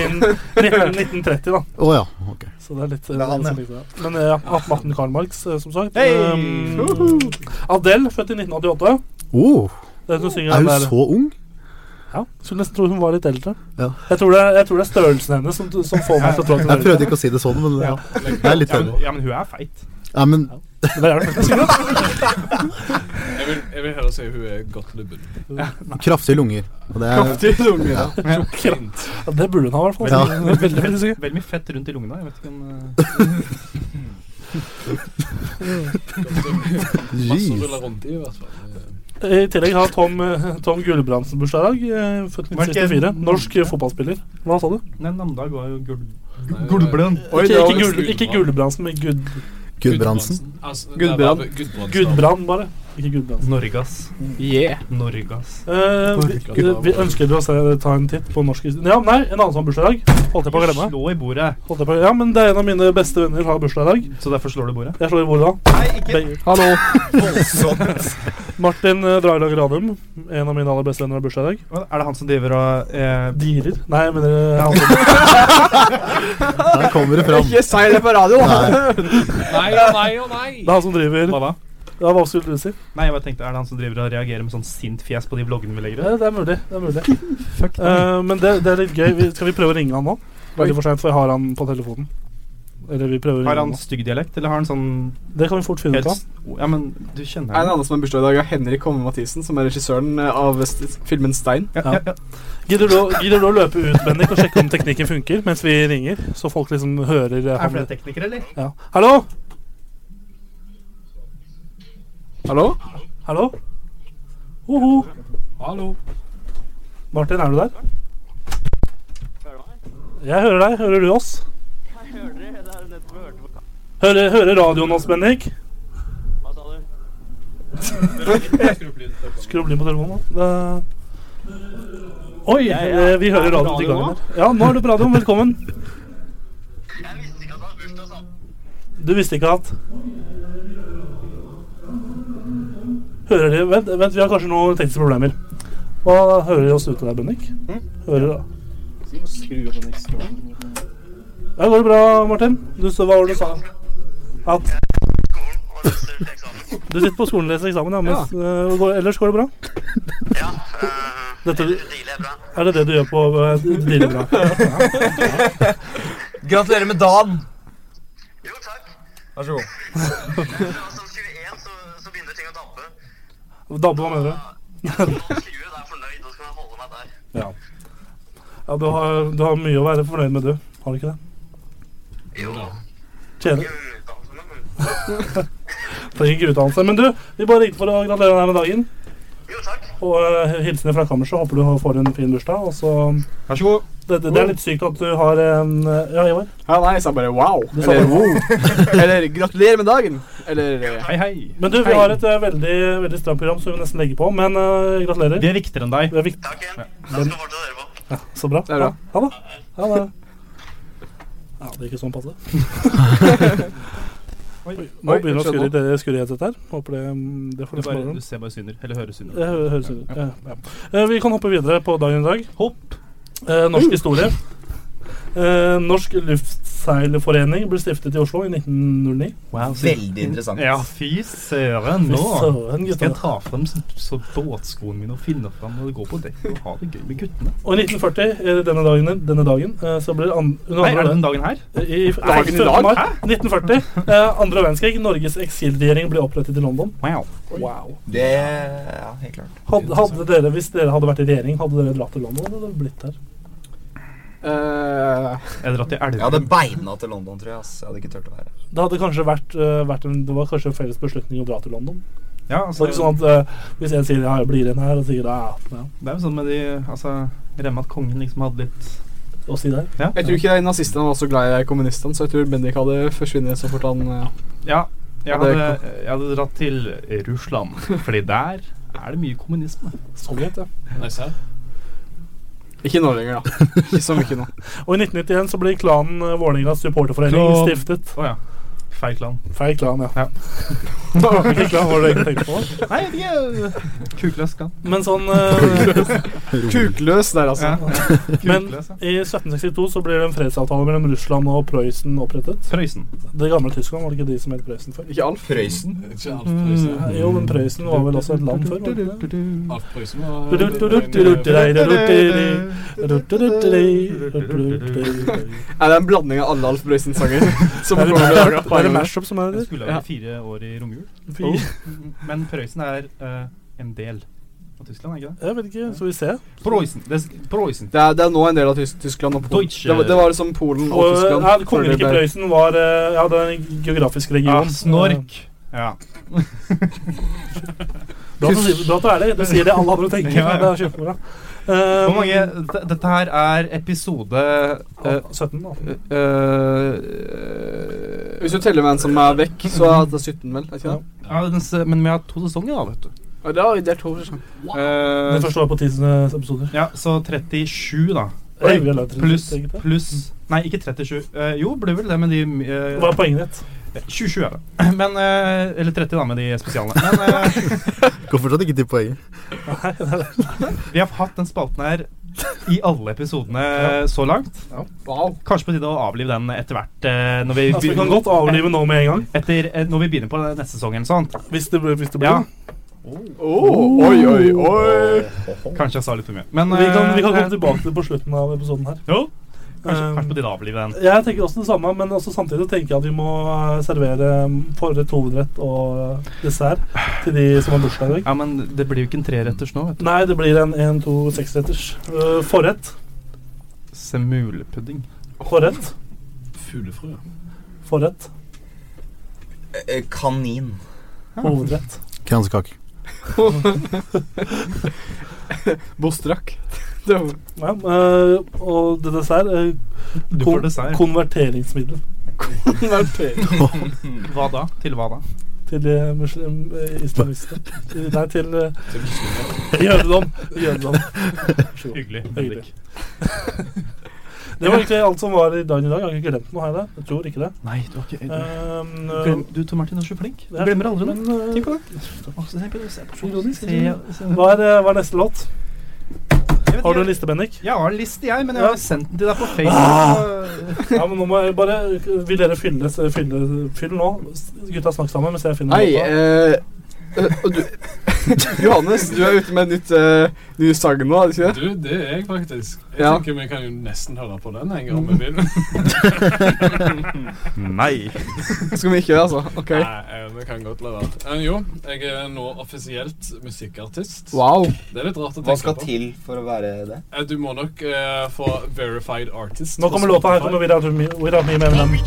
1930, da. Å ja. Ok. Så det er litt er han, det er litt sånn likt, ja. Men ja, 1818 Karl Marx, eh, som sagt. Hey! Um, Adele, født i 1988. Oh, Det er, hun som synger er den hun der. så ung? Ja, skulle nesten tro hun var litt eldre. Ja. Jeg, tror det, jeg tror det er størrelsen hennes som, som får meg til å tro at hun Jeg er prøvde eldre. ikke å si det sånn, men Ja. jeg er litt Ja, men, enig. ja, men hun er feit. Ja, men Det er det faktisk. Jeg vil, jeg vil heller si hun er godt lubben. kraftige lunger. Og det er kraftig lunge. Ja. Fint. Ja, det burde hun ha, i hvert fall. Ja. Hun er Veldig, veldig sikker. Veldig mye fett rundt i lungene. Jeg vet ikke om eh, Masse Jeez. ruller rundt i, i hvert fall. I tillegg har Tom, eh, Tom Gulbrandsen bursdag i dag. eh, Født i Var det ikke- 1964. Norsk eh, fotballspiller. Hva sa du? Nei, Namdag var jo gul... Nei, Gulblønn. Oi, det Ikke, var ikke, vel- Gul, ikke Gulbrandsen, men Gud, Gudbrandsen. Altså, Gudbrand. Gudbrand. Gudbrand, bare. Ikke Gudbrandsen. Norgas. Yeah. Norgas. Eh, vi, vi ønsker du å se, ta en titt på norsk historie? Ja, nei, en annen som har bursdag i dag. Holdt jeg på å glemme. Slå i bordet. Holdt jeg på, ja, men det er en av mine beste venner har bursdag i dag. Så derfor slår du bordet. Jeg slår i bordet da. Nei, ikke Begge. Hallo. voldsomt. Martin eh, Draglag Radum, en av mine aller beste venner, har bursdag i dag. Er det han som driver og eh, Dealer? Nei, jeg mener eh, han Der kommer det fram. Ikke si det på radio. Nei. Nei og nei og nei. Det er han som driver Hva da? Ja, hva skulle du si? Nei, jeg bare tenkte, er det han som driver og reagerer med sånn sint fjes på de vloggene vi legger ut? Ja, det er mulig. det er mulig Fuck Eh, Men det, det er litt gøy. Vi, skal vi prøve å ringe han nå? Veldig for seint, for jeg har han på telefonen. Eller vi prøver å Har ringe han han nå. stygg dialekt, eller har han sånn Det Eh, kan vi fort finne ut helt av. s- Ja, men du kjenner En ham. annen som har bursdag i dag, er Henrik Homme Mathisen, som er regissøren eh, av st- filmen Stein. Ja, ja, ja. Gidder du, å- gidder du å løpe ut, Bendik, og sjekke om teknikken funker mens vi ringer? Så folk liksom hører eh, Er han flere teknikere, eller? ja. Hallo? Hallo? Hallo? Hoho. Hallo. Martin, er du der? Jeg hører deg. Hører du oss? Hører, hører radioen oss, Bendik? (laughs) Skru opp lyden på telefonen, da. Det... Oi, eh, vi hører radioen til gangen her. Ja, nå er du på radioen. Velkommen. Du visste ikke at Hører de Vent, vent vi har kanskje noen tekniske problemer. Hva hører de oss ute der, Bendik? Hører de da? Ja, går det bra, Martin? Du, så, hva var det du sa? At Du sitter på skolen og leser eksamen, ja. Mens, eh, går, ellers går det bra? Dette, er det det du gjør på eh, dealer bra? Gratulerer med dagen. Jo, takk. Vær så god. Som 21 så, så begynner ting å dampe. Dabbe, hva mener du? Om 20 da er jeg fornøyd, da skal jeg holde meg der. Ja. ja du, har, du har mye å være fornøyd med, du. Har du ikke det? Jo da. Tjener. (laughs) Utdannelse, men- Trenger ikke utdannelse. Men du, vi bare ringte for å gratulere deg med dagen. Jo, takk. Og uh, hilsener fra kammerset. Håper du får en fin bursdag. Og så Vær så god. det, det, det er litt sykt at du har en eh, Ja, Ivar? Ja, nei, jeg sa bare wow. Du sa Eller, wow. (laughs) Eller gratulerer med dagen. Eller eh, Hei, hei. Men du, vi har et eh, veldig, veldig stramt program som vi nesten legger på. Men eh, gratulerer. Vi er viktigere enn deg. Det er viktig. Takk igjen. Da skal jeg fortsette å høre på. Så bra. Det er bra. Ha, ha det. Ha det. Ja, det gikk jo sånn (laughs) passe. Oi, nå Oi, begynner det å skurre- skjønner. det skurre i headsetet her. Håper det, mm, det får Du, du bare, spørre om. du ser bare synder. Eller hører synder. Det hø- høres ut ja, ja. Eh, Vi kan hoppe videre på dagen i dag. Hopp. Eh, norsk historie. Eh, norsk luftseilforening ble stiftet i Oslo i 1909. Wow, så- Veldig interessant. Ja, fy søren. Nå Søren, skal gutter. jeg ta frem så, så båtskoene mine og finne fram og gå på dekk og ha det gøy med guttene. Og i 1940, eh, denne dagen, denne dagen eh, så ble det an, under Nei, er det andre den dagen her? i, i, Dagen i 15. dag? mai 1940, eh, andre verdenskrig, Norges eksilregjering ble opprettet i London. Wow. Wow. Det Ja, helt klart. Hadde, hadde dere, hvis dere hadde vært i regjering, hadde dere dratt til London eller blitt der? eh, Jeg hadde dratt til Jeg hadde Elverum. beina til London, tror jeg. ass. Jeg hadde ikke turt å være her. Det hadde kanskje vært, eh, vært en, det var kanskje en felles beslutning å dra til London. Ja, Så altså, det er ikke sånn at eh, hvis en sier ja, jeg blir igjen her, og sier ja, ja, det er jo sånn med de Altså, jeg regner med at kongen liksom hadde litt og si der. Ja. jeg tror ikke nazistene var så glad i kommunistene, så jeg tror Bendik hadde forsvunnet så fort han eh, Ja, jeg Ja, det er hadde, jeg hadde dratt til Russland, fordi der er det mye kommunisme. Sovjet, ja. Nei, serr? Ikke nå lenger, da. Ikke så mye nå. Og i 1991 så ble klanen eh, Vålerengas supporterforening Klan. stiftet. Å ja. Feil klan. Feil klan, ja. Ja. Hvilken klan var det du egentlig tenkte på? Nei, jeg vet ikke. Kukløs klan. Men sånn eh, Kukløs der, altså. Ja. Men Kukløs, ja. i 1762 så ble det en fredsavtale mellom Russland og Prøysen opprettet. Prøysen. Det gamle Tyskland, var det ikke de som het Prøysen før? Ikke Alf. Prøysen? Ikke Alf Prøysen. Jo, men Prøysen var vel også et land før? var det ikke det? Mm. Alf Prøysen var Er Er det en blanding av alle Alf (laughs) Brøysen-sanger? Som det- kommer til å lage Er det en gang? mashup som er Jeg det? skulle ha vært fire år i romjul. Oh. Fy- Men Prøysen er eh, en del av Tyskland, er ikke det? Jeg vet ikke, skal vi se. Prøysen. Det er Prøysen. Det er, det er nå en del av Tys Tyskland og Polen. Deutsche. Det var, det var liksom Polen og Og, Tyskland. ja, før det Kongeriket ble- Prøysen var eh, ja, det er en geografisk region. Ja, Ah, snork. Ja. (laughs) Eh, Bra at du sier bra at du er det. Du sier det alle andre tenker. men Det er kjempebra. Hvor mange d- Dette her er episode eh, 17, da. Eh, hvis du teller med en som er vekk, så er det 17, vel? Er det ikke det? ja, den s- Men vi har to sesonger, da, vet du. Ja, det er- det er to sesonger. Eh, Det første var på 10. episoder. Ja, så 37, da. Oi, vi har lagd Eh, 37, Pluss egentlig. pluss- Nei, ikke 37. Eh, jo, blir vel det med de eh, Mm. Hva er poenget ditt? 27 er det. (clears throat) Men eh, Eller 30, da, med de spesialene. Men (laughs) eh, Går fortsatt ikke til poenget. vi har hatt den spalten her i alle episodene så langt. Wow. Kanskje på tide å avlive den etter hvert. eh, når vi, Altså, vi kan godt avlive nå med en gang. (laughs) Etter, eh, når vi begynner på neste sesong eller sånt. Hvis det, blir- hvis det blir Ja. det. Oh, oi, oi, oi. Kanskje jeg sa litt for mye. Men vi, kan, vi kan eh, komme tilbake til på slutten av episoden her. Jo, kanskje, Eh, kanskje på tide å avlive den. Jeg tenker også det samme, men også samtidig tenker jeg at vi må eh, servere mm, forrett, hovedrett og eh, dessert til de som har bursdag i dag. Ja, men det blir jo ikke en treretters nå, vet du. Nei, det blir en 1, 2, 6-retters. Eh, Forrett. Semulepudding. Forrett. Fuglefrø. Forrett. Eh, Kanin. Hovedrett. Kransekake. Bostrakk. Det var- Ja, eh, og det dessert eh, Du kon får dessert. Konverteringsmiddel Konvertering. Hva da? Til hva da? til eh, muslim, eh, islamister. Nei, til eh, jødedom. Jødedom. (laughs) Hyggelig. Hyggelig. (laughs) Det var egentlig alt som var i dagen i dag. Jeg har ikke glemt noe, har jeg det? Jeg tror ikke det. Nei, du har ikke Ehm, Glem, du, Tor Martin, er så flink. Du Ja. glemmer aldri Eh, det. Men, eh, Tenk på det. Å, se på det, se på det. Ironisk, Se- ironisk. se- hva, er, eh, hva er neste låt? Jeg vet Har du en ikke. liste, Bendik? Jeg har en liste, jeg, men jeg Ja. har sendt den til deg på Ah. Facebook. Ja, men nå må jeg bare Vil dere fylle, fylle, fylle nå? Gutta, snakk sammen mens jeg finner Nei, låta. eh, eh, og du Johannes, du (laughs) er ute med en nytt, eh, ny sang nå, er det ikke det? Du, det er jeg faktisk. Jeg Ja. tenker vi kan jo nesten høre på den en gang om vi vil. (laughs) Nei. Skal vi ikke det, altså? Ok. Nei, eh, vi kan godt la være. Eh, Jo, jeg er nå offisielt musikkartist. Wow. Det er litt rart å Hva tenke skal på. til for å være det? Eh, Du må nok eh, få verified artist. Nå kommer låta. Her kommer Without Me, Without Me med Eminem. Eminem,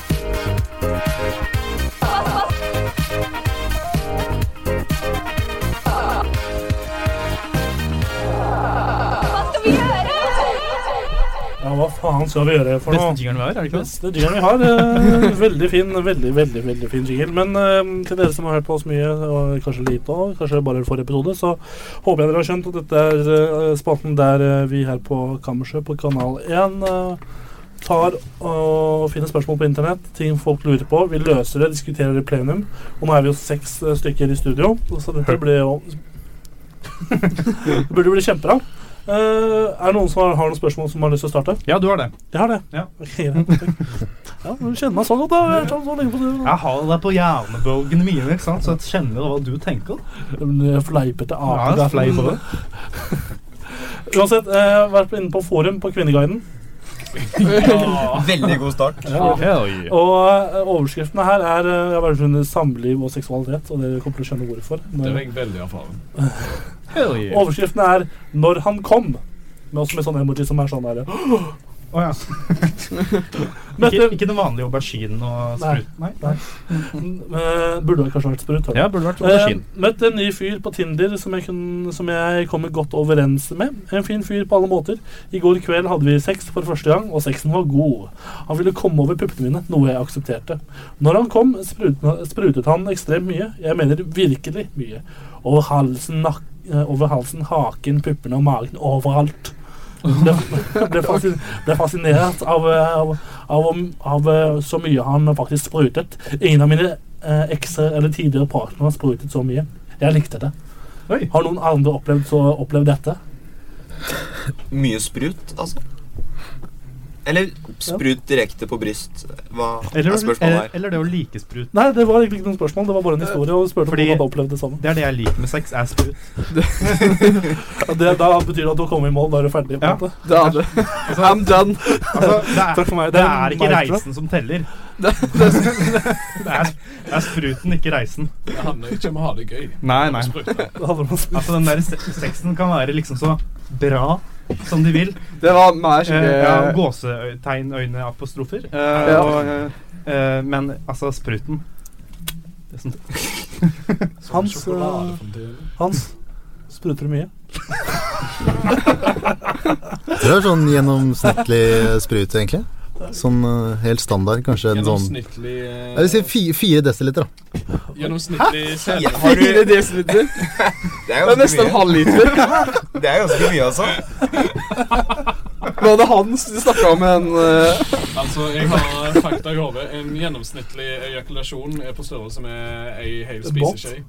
Ja, hva faen skal vi gjøre for noe? Beste jingeren vi har, er det ikke det? Beste jingeren vi har. eh, veldig fin, veldig, veldig veldig fin jingle. Men eh, til dere som har hørt på oss mye, og kanskje lite òg, kanskje bare forrige episode, så håper jeg dere har skjønt at dette er eh, spalten der eh, vi her på Kammerset på Kanal 1 eh, tar og finner spørsmål på internett, ting folk lurer på. Vi løser det, diskuterer det i plenum. Og nå er vi jo seks eh, stykker i studio, så dette blir jo (laughs) Det burde bli kjempebra. Eh, er det noen som har, har noen spørsmål som har lyst til å starte? Ja, du har det. Jeg har det. Ja. (laughs) Ok, greit. ja men du kjenner meg så godt, da. Jeg har tatt så lenge på det. Jeg har deg på hjernebølgene mine, ikke sant? så jeg kjenner hva du tenker. Men jeg Fleiper til Ja, ape. jeg er flei på det. Uansett, eh, jeg har vært inne på forum på Kvinneguiden. Veldig god start. Hell yeah. Og eh, overskriftene her er eh, jeg har vært under samliv og seksualitet, og dere kommer til å skjønne hvorfor. Det er Når, jeg veldig erfaren. Hell yeah. overskriftene er 'Når han kom', med oss med sånn emoji som er sånn her. Å, (laughs) ja. ikke, ikke den vanlige auberginen og Nei. sprut? Nei. Eh, Burde vel kanskje vært sprut. hør du. Ja, burde vært Eh, aubergine. møtte en ny fyr på Tinder som jeg, kunne, som jeg kommer godt overens med. En fin fyr på alle måter. I går kveld hadde vi sex for første gang, og sexen var god. Han ville komme over puppene mine, noe jeg aksepterte. Når han kom, sprutet, sprutet han ekstremt mye. Jeg mener virkelig mye. Over halsen, nak eh, over halsen haken, puppene og magen. Overalt. Ble, ble, fascin, ble fascinert av, eh, av, av, om- av eh, så mye han faktisk sprutet. Ingen av mine eh, ekser eller tidligere partnere har sprutet så mye. Jeg likte det. Oi. Har noen andre opplevd, så opplevd dette? Mye sprut, altså. Eller sprut direkte på bryst. Hva Eh, Eller, er spørsmålet eller, her? eller det å like sprut. Nei, det var egentlig ikke noe spørsmål. Det var bare en historie. Og spurte Fordi- om han hadde opplevd det samme. Det er det jeg liker med sex, er sprut. Og det, da betyr det at du har kommet i mål. Da er du ferdig. på en Ja. måte. Det er det. I'm done. Altså, det er, Takk for meg. det en er ikke mantra. reisen som teller. Det er, det er spruten, ikke reisen. Det handler ikke om eh, å ha det gøy. Nei, nei. Sprute. Det handler om å- Altså, den der se- sexen kan være liksom så bra som de vil. Det var mer Eh, ja, skikkelig Gåsetegnøyne-apostrofer. Eh, Ja. og, eh, men altså, spruten Det er sånn- Hans, Sjokolade eh, fremdeles. Hans spruter du mye? Det er sånn gjennomsnittlig sprut, egentlig. Sånn eh, helt standard, kanskje en sånn Gjennomsnittlig eh, Jeg vil si fi- fire desiliter, da. Gjennomsnittlig selv. Ja, (laughs) har Fire du, (laughs) desiliter. det er Det er nesten ganske en mye. halv liter. Det er ganske mye, altså. Hva hadde Hans snakka om en eh, Altså, jeg har fakta i hodet. En gjennomsnittlig ejakulasjon er på størrelse med ei hel Båt. spiseskje.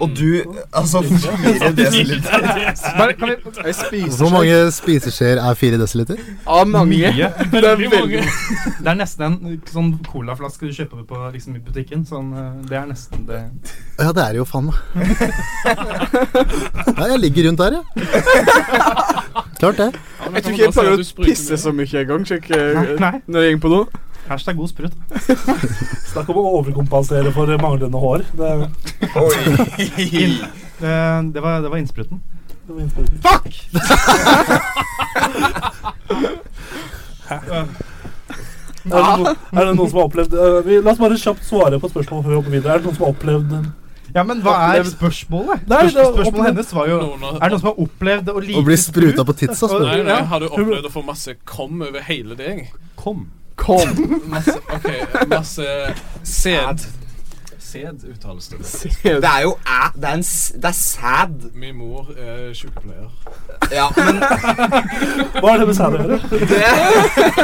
Og du Altså, fire desiliter. bare, kan vi, Jeg spiser Hvor mange spiseskjeer er fire desiliter? Av mange. Mye. Det er veldig mange. (laughs) Det er nesten en sånn colaflaske du kjøper på liksom, i butikken. Sånn, eh, det er nesten det. Ja, det er det jo (laughs) faen meg. Ja, jeg ligger rundt der, ja. Klart det. men Jeg tror kan ikke jeg pleier man bare si at du å spruter pisse mye? så mye engang. Sjekk Nei, nei. når jeg går på do. Hashtag god sprut. Snakk om å overkompensere for manglende hår. Det er Oi. Det, Eh, det, var, det var innspruten. det var innspurten. Fuck! Er det, noen, er det noen som har opplevd eh, vi, La oss bare kjapt svare på et spørsmål før vi hopper videre. Er det noen som har opplevd en Ja, men hva er spørsmålet? Nei, det Spørs- var opplevd- spørsmålet hennes var jo Noen Er har- det noen som har opplevd å like Å bli spruta på titsa. spør Nei, du. nei, har du opplevd å få masse kom over hele deg? Kom. Kom. Masse, ok, masse sæd. Sæd uttales det. Det er jo æ... Det er, en, s- det er sad. Min mor er sykepleier. Ja, men Hva er det med sæd å gjøre? det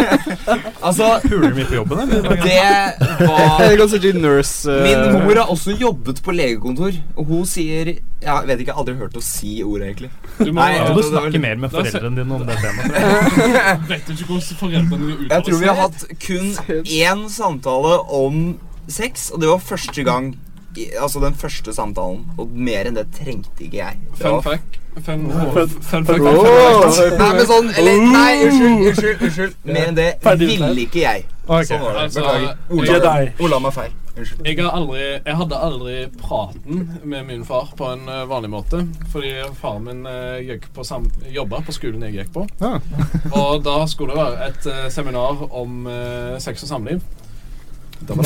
(laughs) Altså, Puler du mye på jobben, eller? det Jeg var er ganske G nurse. Min eh, mor har også jobbet på legekontor, og hun sier Jeg vet ikke, jeg har aldri hørt henne si ordet, egentlig. Du må, Nei, Du jeg må det var- snakke mer med Da ser- foreldrene dine om det temaet. vet du ikke hvordan foreldrene dine uttaler Jeg tror vi har hatt kun Sæd. én samtale om sex, og det var første gang. I, altså den første samtalen, og mer enn det trengte ikke jeg. Det Fun var- fact. Fun, fun, fun fact. Åh, Nei, men sånn Eller, nei, unnskyld, unnskyld. unnskyld Mer enn det Ferdig ville ikke jeg. Sånn Ok. var det. altså, Beklager. Ola, Jedi. Ola meg feil. Unnskyld. Jeg, har aldri, jeg hadde aldri praten med min far på en eh, vanlig måte. Fordi faren min eh, gikk på sam jobba på skolen jeg gikk på. Ja. (laughs) Og da skulle det være et eh, seminar om eh, sex og samliv. Var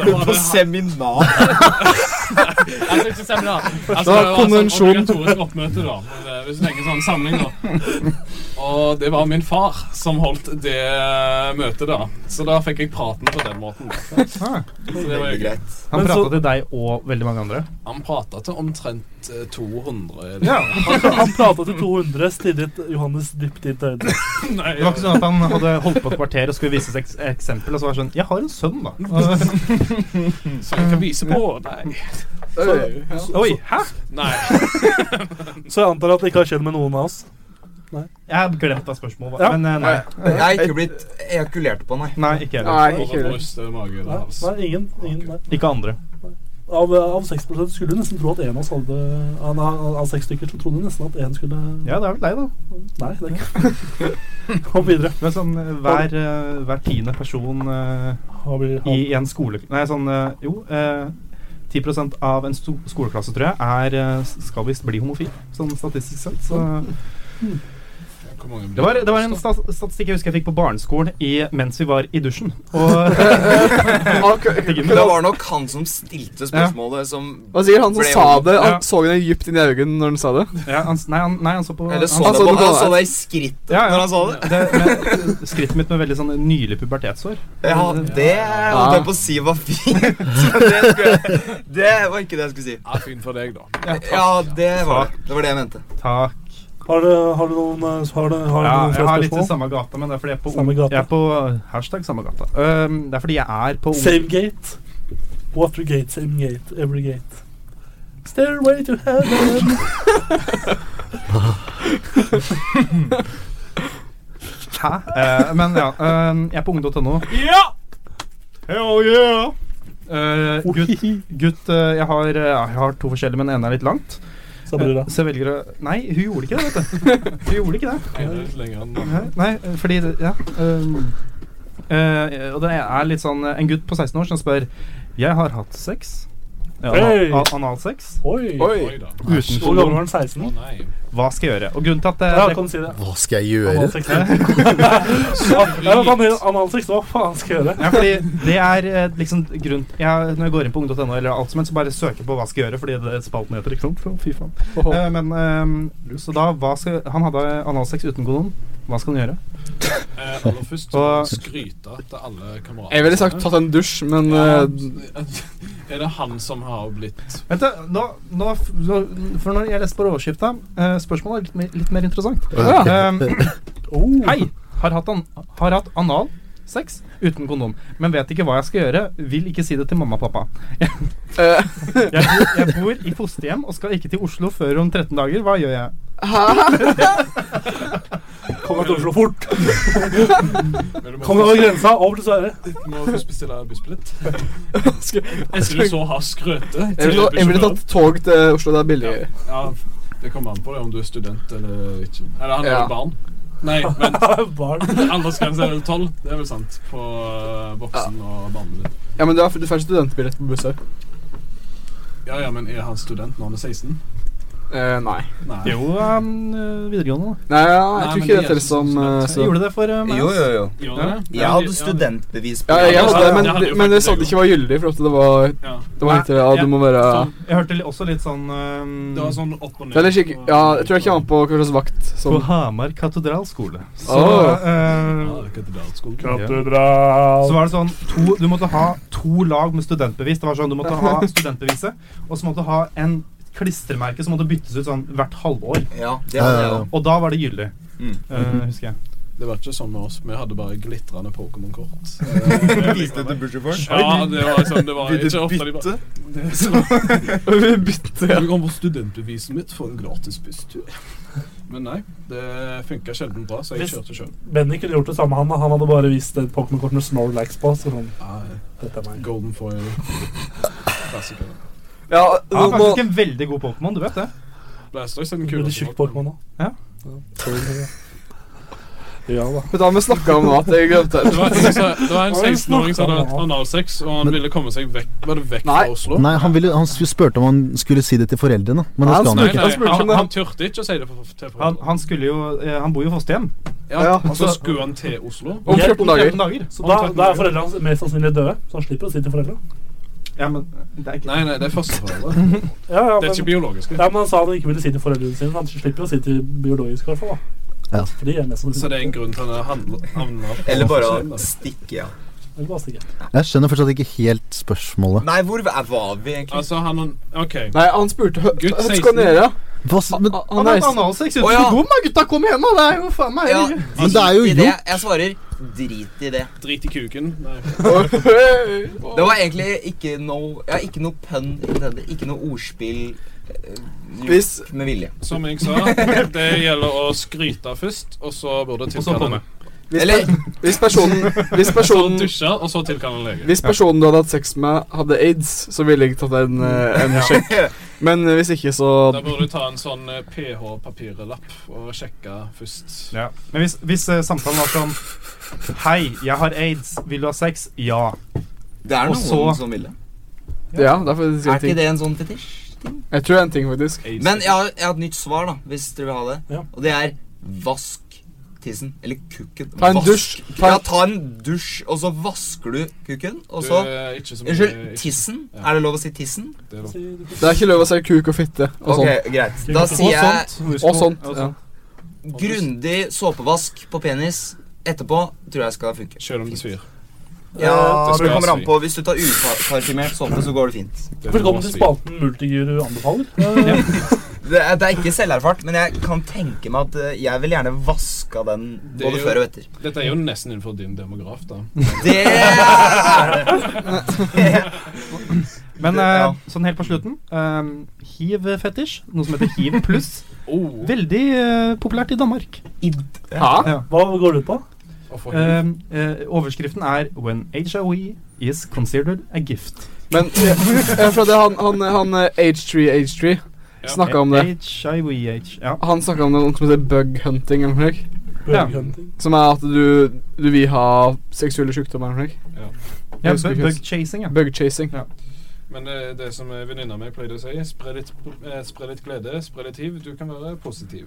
du på seminar? (laughs) Altså, ikke seminar. Altså, Da det var konvensjon. Sånn obligatorisk oppmøte, da. Men, eh, Hvis du tenker sånn samling, da. Og det var min far som holdt det eh, møtet, da. Så da fikk jeg praten på den måten. da. Ah, Så det var Veldig jo- greit. Han Men så- prata til deg og veldig mange andre. Han prata til omtrent eh, 200. Ja. Han prata til 200, stirret Johannes dypt inn til øynene. Nei, Det var ikke sånn at han hadde holdt på et kvarter og skulle vise seg et eksempel, og så var det sånn Jeg har en sønn, da. Mm, Så jeg kan vise på. Nei. Øy. (laughs) Oi, hæ? Nei. Så jeg antar at det ikke har skjedd med noen av oss. Jeg har glemt av spørsmålet, Ja. men eh, nei. Jeg har ikke blitt ejakulert på, nei. Nei, ikke jeg. Nei, ikke Over heller. bryst, mage eller Nei, hals. nei ingen. ingen nei. Ikke andre. Av, eh, av 6 skulle du nesten tro at en av oss hadde Av, av- av seks stykker så trodde du nesten at én skulle Ja, det er vel deg, da. Nei, det er ikke (laughs) Hopp videre. Men sånn eh, hver, eh, hver tiende person eh, Hva blir i en skole... Nei, sånn eh, Jo. eh, 10 av en sto skoleklasse, tror jeg, er, eh, skal visst bli homofil, sånn statistisk sett. Så Hvor mange det, var, det var en sta- statistikk jeg husker jeg fikk på barneskolen i, mens vi var i (laughs) dusjen. Og Ah, k- k- Det var nok han som stilte spørsmålet, som Hva sier han som Ble sa over. det? Ja. Han så henne dypt inn i øynene når han sa det. ja, han, s- nei, han, nei, han så på Eller så han, det på det på han deg. så det i skrittet Ja, ja. når han sa det. det, med, skrittet mitt med veldig sånn nylig pubertetshår. Ja, det holdt jeg på å si var fint. (laughs) Det, skulle, jeg- det var ikke det jeg skulle si. Ja, fint for deg, da. Ja, det var det. Det var det jeg mente. Takk. Har du, har du noen eh, Har du, har du Ja, noen jeg flere har litt i spørsmål? samme gata, men det er fordi jeg er på, Samme gata. Jeg er på hashtag samme gata. Øhm, det er fordi jeg er på Same gate. Watergate, same gate, every gate. Stairway to heaven. Hæ? Eh, men ja, eh, jeg er på ung.no. Ja! Hell yeah! Eh, gutt, gutt eh, jeg, har, eh, ja, jeg har to forskjellige, men den ene er litt langt. Sa brura. Eh, Så jeg velger å Nei, hun gjorde ikke det, vet du. (laughs) Hun gjorde ikke det. Jeg er litt lenger enn Hæ? Nei, eh, fordi det- Ja. ehm, eh, og det er litt sånn eh, En gutt på 16 år som spør Jeg har hatt sex. Ja, Hey! ana- Analsex. Oi! Oi. Oi da. Uten Hvor gammel var kondom. han? 16? Å nei. Hva skal jeg gjøre? Og grunnen til at det, Ja, det kan du si det. Hva skal jeg gjøre? Analsex. (laughs) Ja, men faen, det er Analsex, hva faen skal jeg gjøre? ja, fordi det er eh, liksom grunn jeg, Når jeg går inn på ung.no eller alt som helst, så bare søker jeg på hva skal jeg gjøre, fordi det er spalten heter, ikke sant? Så fy faen. Eh, men ehm, Så da hva skal Han hadde analsex uten kondom. Hva skal han gjøre? Eh, aller først Og- skryte til alle kameratene. Jeg ville sagt tatt en dusj, men Ja, eh, Er det han som har blitt Vent, da, nå, nå f- nå- For når jeg leste på overskrifta, eh, spørsmålet er litt, mer- litt mer interessant. um, (laughs) Ehm, Hei! Har hatt, an har hatt anal sex uten kondom, men vet ikke hva jeg skal gjøre. Vil ikke si det til mamma og pappa. eh, Jeg, bor- jeg bor i fosterhjem og skal ikke til Oslo før om 13 dager. Hva gjør jeg? Kom deg til Oslo fort! Men du må Kom deg over grensa, over til Sverige. først- må først bestille bussbillett. Etter du så har skrøte Jeg ville, jeg ville tatt tog til Oslo, det er billigere. Ja, det kommer an på det om du er student eller ikke. Eller han er Ja. jo barn. Nei, vent. (laughs) Barn. Aldersgrense er vel tolv. Det er vel sant. På eh, voksen og barnebill. Ja, men du, er, du får ikke studentbillett på buss her. Ja ja, men er han student når han er 16? Eh, nei. Nei. Jo, ehm, eh, videregående, da. Nei, ja, jeg Nei, tror men ikke de det er teller ikke som studenter. eh, Jeg student. gjorde det for eh, meg. altså. Jo, jo, jo. Gjør det? Jeg hadde studentbevis på Ja, jeg hadde det, men, Ja, det hadde jo men det faktisk sa at det det ikke var gyldig, for at det var Ja. Det var Nei, litt, ja, ja. du må være Sånn, Jeg hørte li- også litt sånn ehm, Det var sånn opp og ned. Det er litt skikk... Ja, jeg tror jeg kommer an på hva slags vakt På som Hamar katedralskole. Så Åh. ehm, Ja, katedralskolen. Så var det sånn to, Du måtte ha to lag med studentbevis. Det var sånn, Du måtte ha studentbeviset, og så måtte du ha en klistremerke som måtte byttes ut sånn hvert halvår. Ja, det hadde jeg òg. Og da var det gyldig. Mm. Eh, husker jeg. Det var ikke sånn med oss. Vi hadde bare glitrende Pokémon-kort. Viste det til bussjåføren? (laughs) Ja, det var sånn, det var ikke ofte de (laughs) bare bytte. Du kan få studentbeviset mitt for en gratis busstur. Men nei, det funka sjelden bra, så jeg Hvis- kjørte sjøl. Benny kunne gjort det samme, han. Han hadde bare vist et Pokémon-kort med Snorlax på. Så sånn, dette er meg. Golden foil. Klassiker. Ja, Han nå, er nå, faktisk en veldig god Pokémon, du vet det. Blastoise er den Veldig kuleste. tjukk Pokémon nå. Ja. Ja da. vet du hva vi snakka om nå, at jeg glemte Det var, en som- det var en Hva er det 16-åring som hadde snakk hatt om? analsex, og han ville komme seg vekk, bare vekk Nei. fra Oslo. Nei, han, ville, han spurte om han skulle si det til foreldrene, men det Nei, skal han Nei, jo ikke. nei, Han spurte om han, det. han turte ikke å si det for- for- Han, til foreldrene. han skulle jo eh, Han bor jo i fosterhjem. Ja, ja. og så skulle han til Oslo. Om 14 dager. 13 dager. Så da, da er foreldrene hans mest sannsynlig døde, så han slipper å si til foreldrene. Ja, men det er ikke Nei, nei, det er førsteforeldre. Ja, ja, Det er men, ikke biologiske. ja, men han sa han ikke ville si til foreldrene sine. så Han slipper å si til biologisk, i hvert fall. da. Ja. For de er mest sannsynlig Så det er en grunn til at han handler- havner på Eh, Eller bare fosterhjem, da. å stikke, ja. Eller bare stikke. Jeg skjønner fortsatt ikke helt spørsmålet. Nei, hvor er- var vi egentlig? Altså, han OK. Nei, han spurte Hva Gutt hva skal han 16. gjøre? Hva, s- Han, men, Han han har hatt reiste analsex uten Å, ja. kondom, da, gutta! Kom igjen, da! Det er jo faen meg (laughs) Ja, men det er jo drit i det. gjort. Jeg svarer drit i det. Drit i kuken. Nei. Det var egentlig ikke noe Ja, ikke noe pun intended. Ikke noe ordspill eh, gjort Hvis- med vilje. Som jeg sa, det gjelder å skryte først, og så burde Og så tilkalle komme. Hvis, Eller- per- hvis personen Hvis personen Dusje, og så tilkalle en lege. Hvis personen du hadde hatt sex med, hadde aids, så ville jeg tatt en, eh, en sjekk. Men eh, hvis ikke, så Da burde du ta en sånn eh, pH-papirlapp og sjekke først. Ja. Men hvis, hvis eh, samtalen var sånn Hei, jeg har aids. Vil du ha sex? Ja. Det er Og noen så- som vil det. Ja, det er faktisk Er en ikke ting. det en sånn fetisj? ting? Jeg tror det er en ting, faktisk. Aids. Men jeg har, jeg har et nytt svar, da, hvis dere vil ha det. Ja. Og det er vask tissen. Eller kukken. Ta en Vask- dusj. Ta Ja, en, ta en dusj, og så vasker du kukken, og Du, så eh, ikke så mye- Unnskyld, ikke- tissen? Ja. Er det lov å si tissen? det er lov. det er ikke lov å si kuk og fitte og sånn. Ok, greit. Da Og sier jeg Husk Og på- sånt. og Ja. grundig såpevask på penis. Etterpå tror jeg skal funke. Selv om det svir. Ja, det det skal kommer an svi. på. Hvis du tar uparfymert såpe, så går det fint. Det er Velkommen lov å til si. spalten Multiguru anbefaler. Eh, Det er, det er ikke selverfart, men jeg kan tenke meg at eh, jeg vil gjerne vaska den Det er både jo- før og (laughs) etter. Dette er jo nesten innenfor din demograf, da. Det er det! Men Det- eh, ja. sånn helt på slutten eh, Hiv-fetisj, noe som heter hiv pluss. (laughs) Veldig eh, populært i Danmark. Ja. Hva går det ut på? Eh, eh, overskriften er 'When HOE E is considered a gift'. Men eh, for at det, han, han, han eh, H3 H3 snakka om det. HIVH, E ja. Han snakka om noe som heter bug hunting. eller noe slik, Ja. Bøgenhunting. Som er at du, du vil ha seksuelle sykdommer. eller noe slik. ja Jeg husker bug, ikke. bug chasing, ja. Bug chasing. Ja. Men det, det som eh, venninna mi pleide å si, spre litt, eh, spre litt glede, spre litt hiv. Du kan være positiv.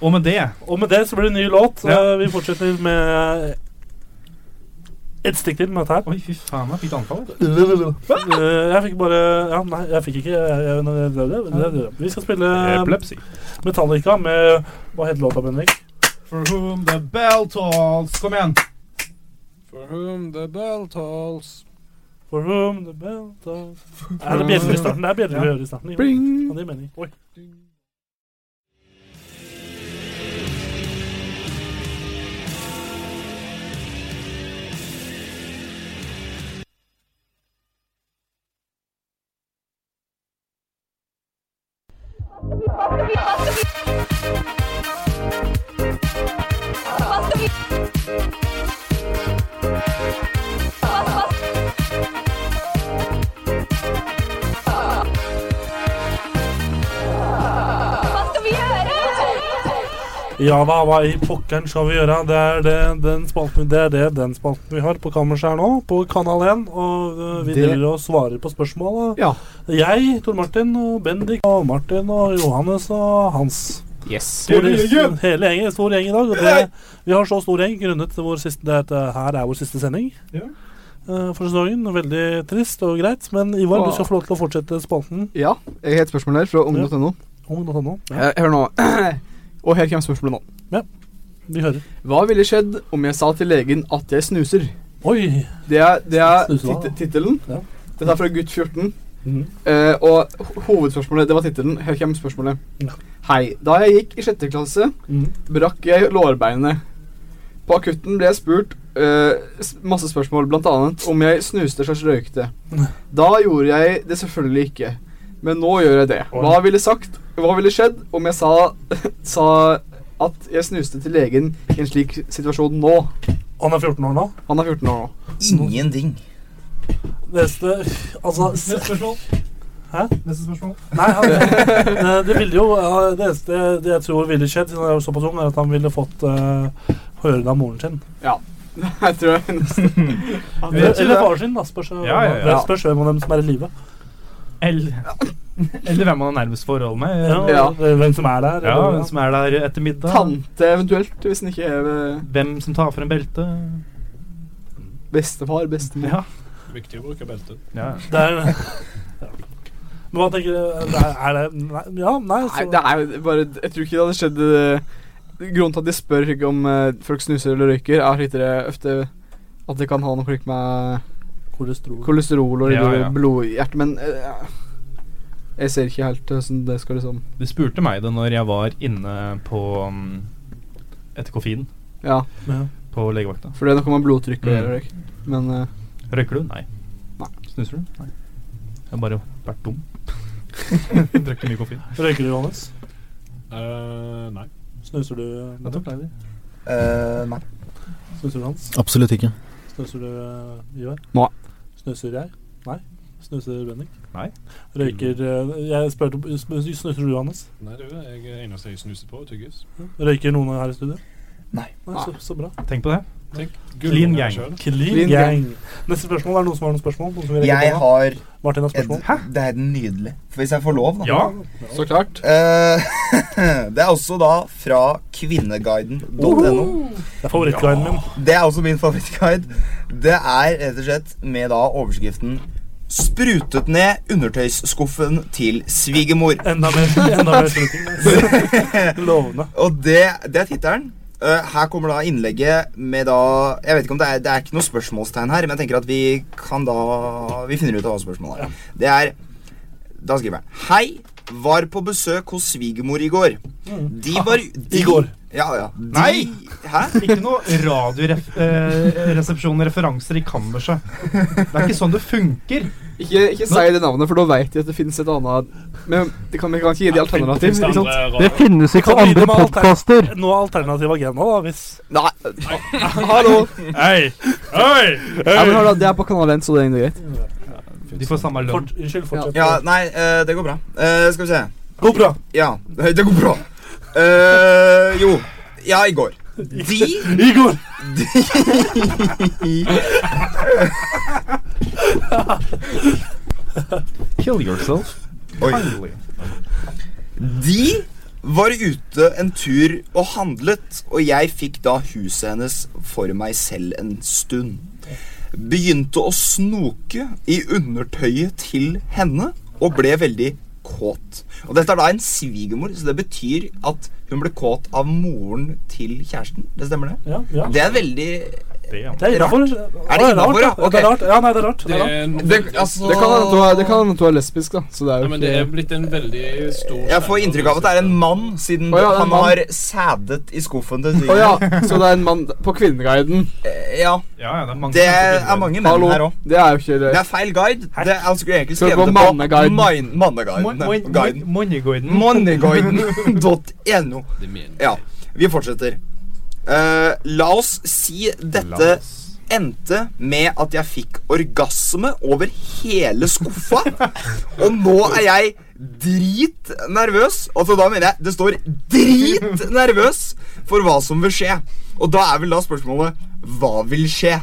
Og med det Og med det så blir det en ny låt. Ja. Eh, Vi fortsetter med et stikk til med dette her. Oi, fy faen, jeg fikk et anfall. jeg. Eh, Jeg fikk bare Ja, nei, jeg fikk ikke jeg, jeg, det- det- det- det- det- Vi skal spille eh, Epilepsi. Metallica med Hva heter låta, Bendik? For whom the bell tolls. Kom igjen. For whom the bell tolls. For whom the bell tolls Er det bjeller i starten? Det er bjeller vi hører i starten. jo. Ja, det er meningen. Oi. Ja da, hva i pokkeren skal vi gjøre? Det er det, den spalten, det er det, den spalten vi har på kammerset her nå, på Kanal 1. Og øh, vi Det- driver og svarer på spørsmål. da. Ja. Jeg, Tor Martin, og Bendik og Martin og Johannes og Hans. Yes. Stor, hele gjengen! Hele gjengen, stor gjeng i dag. Og det, vi har så stor gjeng grunnet til vår siste, det, at, øh, her er vår siste sending. Ja. øh, For sesongen. Veldig trist og greit. Men Ivar, Wow. du skal få lov til å fortsette spalten. Ja, jeg har et spørsmål her fra ung.no. Ung.no. Ja, Eh, Hør nå. (clears throat) Og her kommer spørsmålet nå. vi hører. Hva ville skjedd om jeg sa til legen at jeg snuser? Oi! Det er, det er Snuser, da. tit- tittelen. Ja. Dette er fra gutt 14. Mhm. Eh, og ho- hovedspørsmålet, det var tittelen. Her kommer spørsmålet. Ja. Hei. Da jeg gikk i sjette klasse, Mhm. brakk jeg lårbeinet. På akutten ble jeg spurt eh, s- masse spørsmål, blant annet om jeg snuste slags røykte. Da gjorde jeg det selvfølgelig ikke, men nå gjør jeg det. Hva ville sagt Hva ville skjedd om jeg sa, (laughs) sa at jeg snuste til legen i en slik situasjon nå? Han er 14 år nå. Han er 14 år nå. (laughs) Ingenting. Neste Altså Neste spørsmål. Hæ? Neste spørsmål. Nei, han, det, det ville jo ja, Det eneste det jeg tror ville skjedd, siden han er jo såpass ung, er at han ville fått eh, høre det av moren sin. Jeg tror jeg nesten Eller vet ikke det. eller faren sin, da. Spørs, Ja, ja, ja. det spørs hvem av dem som er i live. Eller, eller hvem man har nærmest forhold med. Ja. Hvem som er der. Ja, eller- hvem som er der etter middag. Tante eventuelt, hvis han ikke er eh, Hvem som tar frem belte. bestefar, bestemor. Ja. Viktig å bruke belte. ja. Det er, (laughs) ja. Men hva tenker du det er, er det nei, Ja, nei, så, Nei, det er jo bare Jeg tror ikke det hadde skjedd eh, Grunnen til at de spør ikke om eh, folk snuser eller røyker, er litt det ofte at det kan ha noe slikt med kolesterol. kolesterol og Ja, ja. blodhjerte, men eh, jeg ser ikke helt hvordan det skal liksom Du spurte meg det når jeg var inne på mm, etter koffein Ja, ja. på legevakta. for det er noe med blodtrykk å Mm. gjøre. ikke? Men eh, Røyker du? Nei. Nei. Snuser du? Nei. Jeg har bare vært (laughs) dum. Drakk for mye koffein. Røyker du, Johannes? Eh, nei. Snuser du, Jeg tok leider. Eh, nei. snuser du Hans? Absolutt ikke. Snuser du, eh, Ivar? Nei. Snuser jeg? Nei. Snuser Bendik? Nei. Røyker eh, Jeg spurte om- sn- Snuser du, Johannes? Nei, du, jeg er eneste jeg snuser på, tygges. Røyker noen her i studio? Nei. så, så bra. Tenk på det. Gullungen gang. selv. Clean Clean gang. gang. Neste spørsmål. Er det noen som har noen spørsmål? Noen som vil rekke Jeg opp hånda? har Martin har et, spørsmål. Det er nydelig. For hvis jeg får lov, da. Ja. så klart. Eh, (laughs) det er også da fra kvinneguiden.no. Det er favorittguiden min. Det er også min favorittguide. Det er rett og slett med da overskriften 'Sprutet ned undertøysskuffen til svigermor'. Enda mer, enda mer slutting. Lovende. Og det, det er tittelen. Eh, her kommer da innlegget med da Jeg vet ikke om det er, det er ikke noe spørsmålstegn her, men jeg tenker at vi kan da Vi finner ut av hva spørsmålet er. Det er Da skriver jeg Hei. Var på besøk hos svigermor i går. De var de, I går. Ja, ja. De, Nei! Hæ? (laughs) Ikke noe eh, radioresepsjon-referanser i kammerset. Det er ikke sånn det funker. Ikke, ikke si det navnet, for da veit de at det finnes et annet Men det liksom- kan, vi kan ikke gi de alternativ. Finnes det Ikke sant? andre Det radio- finnes ikke Kan vi gi andre dem alt her? podkaster! Noe alternativ agenda, da, hvis Nei. Hallo. Hei! Hei! Ja, men hør da, Det er på Kanal 1, så det er egentlig greit. De får samme lønn. Fort, Unnskyld, fortsett. Ja, nei, eh, det går bra. Eh, skal vi se. Går bra. Ja, (laughs) det går bra. Eh, jo. Ja, i går. De I går! Kill yourself. Oi. De var ute en tur og handlet, og jeg fikk da huset hennes for meg selv en stund. Begynte å snoke i undertøyet til henne og ble veldig kåt. Og dette er da en svigermor, så det betyr at hun ble kåt av moren til kjæresten. Det stemmer det? Ja, ja. Det er veldig Det er innafor. Er det innenfor, ja? Ok. Det er rart. Ja, nei, det er rart. Det Det er rart. er, det, altså, Det kan hende at du er- det kan hende at du er lesbisk, da. Så det er ja, jo men det er ikke blitt en veldig stor Jeg får inntrykk av at det er en mann, siden Å ja, det er en han mann. har sædet i skuffen til Å ja, så det er en mann på Kvinneguiden. Eh, Ja, Ja, ja, det er mange det som er ikke mange menn Hallo. her òg. Det er jo ikke Det det. er feil guide. Det er, han skulle egentlig Skal det gå skrevet det på manneguiden? Min- Manneguiden. Mon- mon- Guiden. mon- Moneyguiden. Monneguiden.no. Det mener Ja, vi fortsetter. Eh, la oss si dette endte med at jeg fikk orgasme over hele skuffa. Og nå er jeg dritnervøs. Altså da mener jeg det står dritnervøs for hva som vil skje. Og da er vel da spørsmålet hva vil skje?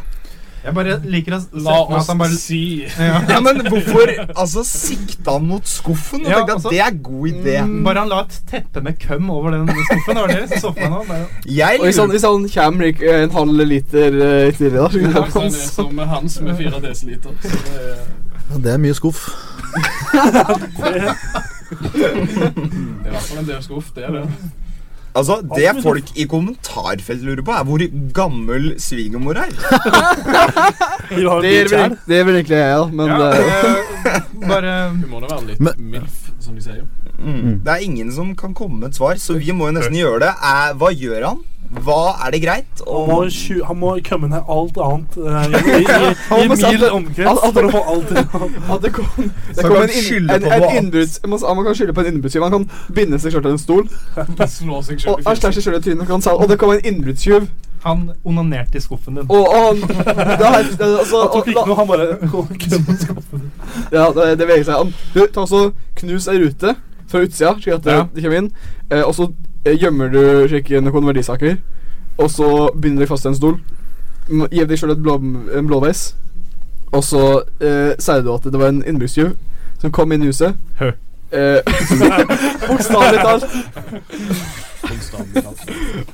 (laughs) Jeg bare liker å se eh, La for meg at oss han bare si Ja, men hvorfor altså, sikta han mot skuffen? Og Ja, tenkte at altså- det er god idé. Mm, Bare han la et teppe med køm over den skuffen. Det var det jeg så for meg nå. Bare, Jeg Og hvis han, lurer hvis han kommer ikke- en halv liter eh, tidligere, da så kan Hans. han- er som Hans med 4 desiliter. Så det er- Ja, Det er mye skuff. det er i hvert fall en del skuff, det er det. Altså, Det folk i kommentarfeltet lurer på, er hvor gammel svigermor er. Vi har Det en vil, kjær. det vil egentlig jeg, da. Men ja, eh, eh, bare Du må da være litt Men- MILF, som de sier. Mm. Det er ingen som kan komme med et svar, så vi må jo nesten gjøre det. Er, hva gjør han? Hva er det greit? Han må, tju, han må komme ned alt annet (laughs) eh, i, i, i Han må mil sette- omkrets alt- for å få alt til. at (laughs) det kom, det Så kom kan en, han inn, skylde en, på en noe annet. innbrudds... Man, man kan skylde på en innbruddstyv. Han kan binde seg selv til en stol Slå seg og selv i han slår fjeset. seg selv i trynet. Og, kan sa- og det kom en innbruddstyv. Han onanerte i skuffen din. Og, og (laughs) han det er, det, er- altså, Han tok og, ikke noe, han (laughs) bare Ja, det, det veger seg an. Du, ta også knus ei rute fra utsida, slik at det, Ja. det kommer inn. Eh, og så eh, gjemmer du slik noen verdisaker. Og så binder du fast i en stol. M- Gir deg sjøl blå, en blåveis. Og så eh, sier du at det var en innbruddstyv som kom inn i huset. Hø. Eh, (laughs) Bokstavelig talt.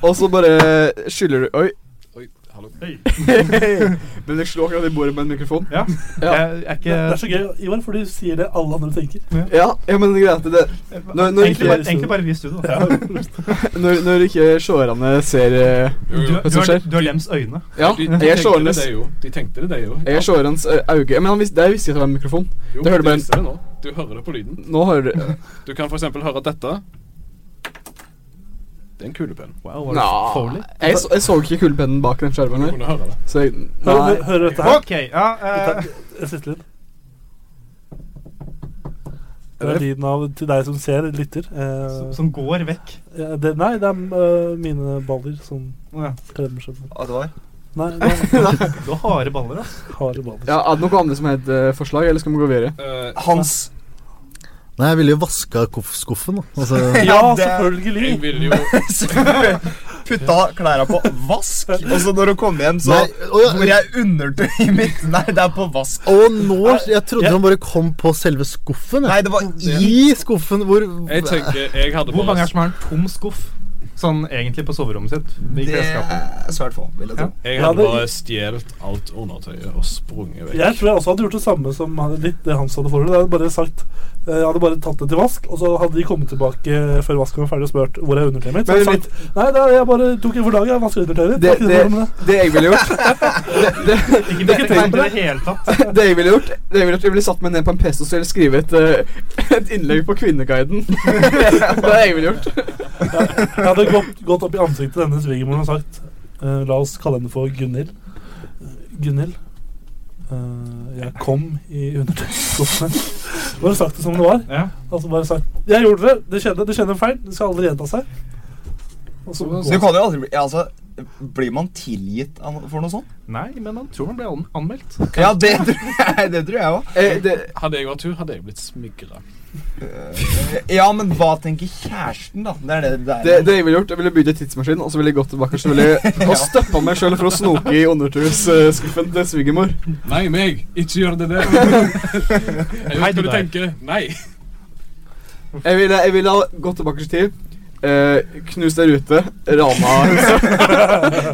Og så bare skyller du Oi. altså. (laughs) Oi, hallo. Men jeg slo akkurat i bordet med en mikrofon. Ja. Ja. Jeg er Det ikke er så gøy, Ivar, for du sier det alle andre tenker. Ja, ja men greit. Det, Når- når egentlig, ikke- bare, egentlig bare vi i studio. da. Når, når ikke seerne ser eh, Jo, Du, jo. du, som har, skjer? du har lems øyne. Ja, De, jeg de er tenkte det, seernes det jo. De tenkte det, det jo. Jeg er seernes eh, auge Men han visste, jeg visste ikke at det var en mikrofon. Jo, det hører du bare- visste det nå. Du hører det på lyden. Nå hører du Nei, Du kan for eksempel høre dette. Det er en kulepenn. Wow, var det Foley? jeg, så, jeg så ikke kulepennen bak den skjermen Du her. kunne høre det. Så jeg Nei. Hører, hører dette her? Ok, ja eh, Jeg sitter litt. Det er lyden av til deg som ser, lytter. som- Eh, Som går vekk. ja, det, nei, det er eh, mine baller som Ja. klemmer seg på. Ja, det var. (laughs) Nei, det er Du har harde baller, ass. harde baller. Ja, Er det noe annet som het eh, forslag, eller skal vi gå videre? Eh, Hans Nei, jeg ville jo vaska koff- skuffen, da. Altså, Ja, det- selvfølgelig! jeg vil jo (laughs) putta klærne på vask, og så når hun kom hjem, så nei, å, hvor ja, jeg undertøyet mitt Nei, det er på vask. å, nå Jeg trodde han bare kom på selve skuffen. Nei, Jeg. det var i I skuffen hvor Jeg tenker jeg hadde Hvor mange bare er som har en tom skuff? Sånn egentlig på soverommet sitt. I Det (laughs) klesskapet. er svært få, vil jeg tro. Jeg Ja, hadde det- bare stjålet alt undertøyet og sprunget vekk. Jeg tror jeg også hadde gjort det samme som han- litt det Hans hadde forelagt. Jeg hadde bare sagt eh, jeg hadde bare tatt det til vask, og så hadde de kommet tilbake før vasken var ferdig og spurt hvor er undertøyet mitt. Så Men hadde jeg sagt nei, det er, jeg bare tok det for dagen. Jeg vasker undertøyet ditt. Det Det, er ikke det, noe problem med det. det jeg ville gjort det, det, Ikke tenk tenk på det i det hele tatt. det jeg ville gjort, det jeg ville gjort Jeg ville satt meg ned på en PC og så ville jeg skrevet et, eh, et innlegg på Kvinneguiden. det er det jeg ville gjort. Jeg hadde gått, gått opp i ansiktet til denne svigermoren og sagt eh, La oss kalle henne for Gunhild. Eh, Gunhild, eh, jeg kom i undertøysskoene. Bare sagt det som det var. Ja. Altså bare sagt Jeg gjorde det! Det skjedde, det skjedde en feil. Det skal aldri gjenta seg. Og så Så du gå. kan jo aldri bli ja, altså, Blir man tilgitt av no- for noe sånt? Nei, men han tror han ble an- anmeldt. Ja, det tror jeg det tror jeg òg. Eh, det, Hadde jeg vært hun, hadde jeg blitt smigra. Ja, men hva tenker kjæresten, da? Det er det det er. det, det jeg ville gjort, jeg ville bygd en tidsmaskin og så ville jeg gått tilbake og så ville jeg- og støppa meg sjøl for å snoke i undertursskuffen til svigermor. Nei, meg! Ikke gjør (laughs) det der. Jeg vet Hei hva til deg. du tenker. Nei. (laughs) Jeg ville, jeg ville ha gått tilbake i tid, eh, knust ei rute, rana huset,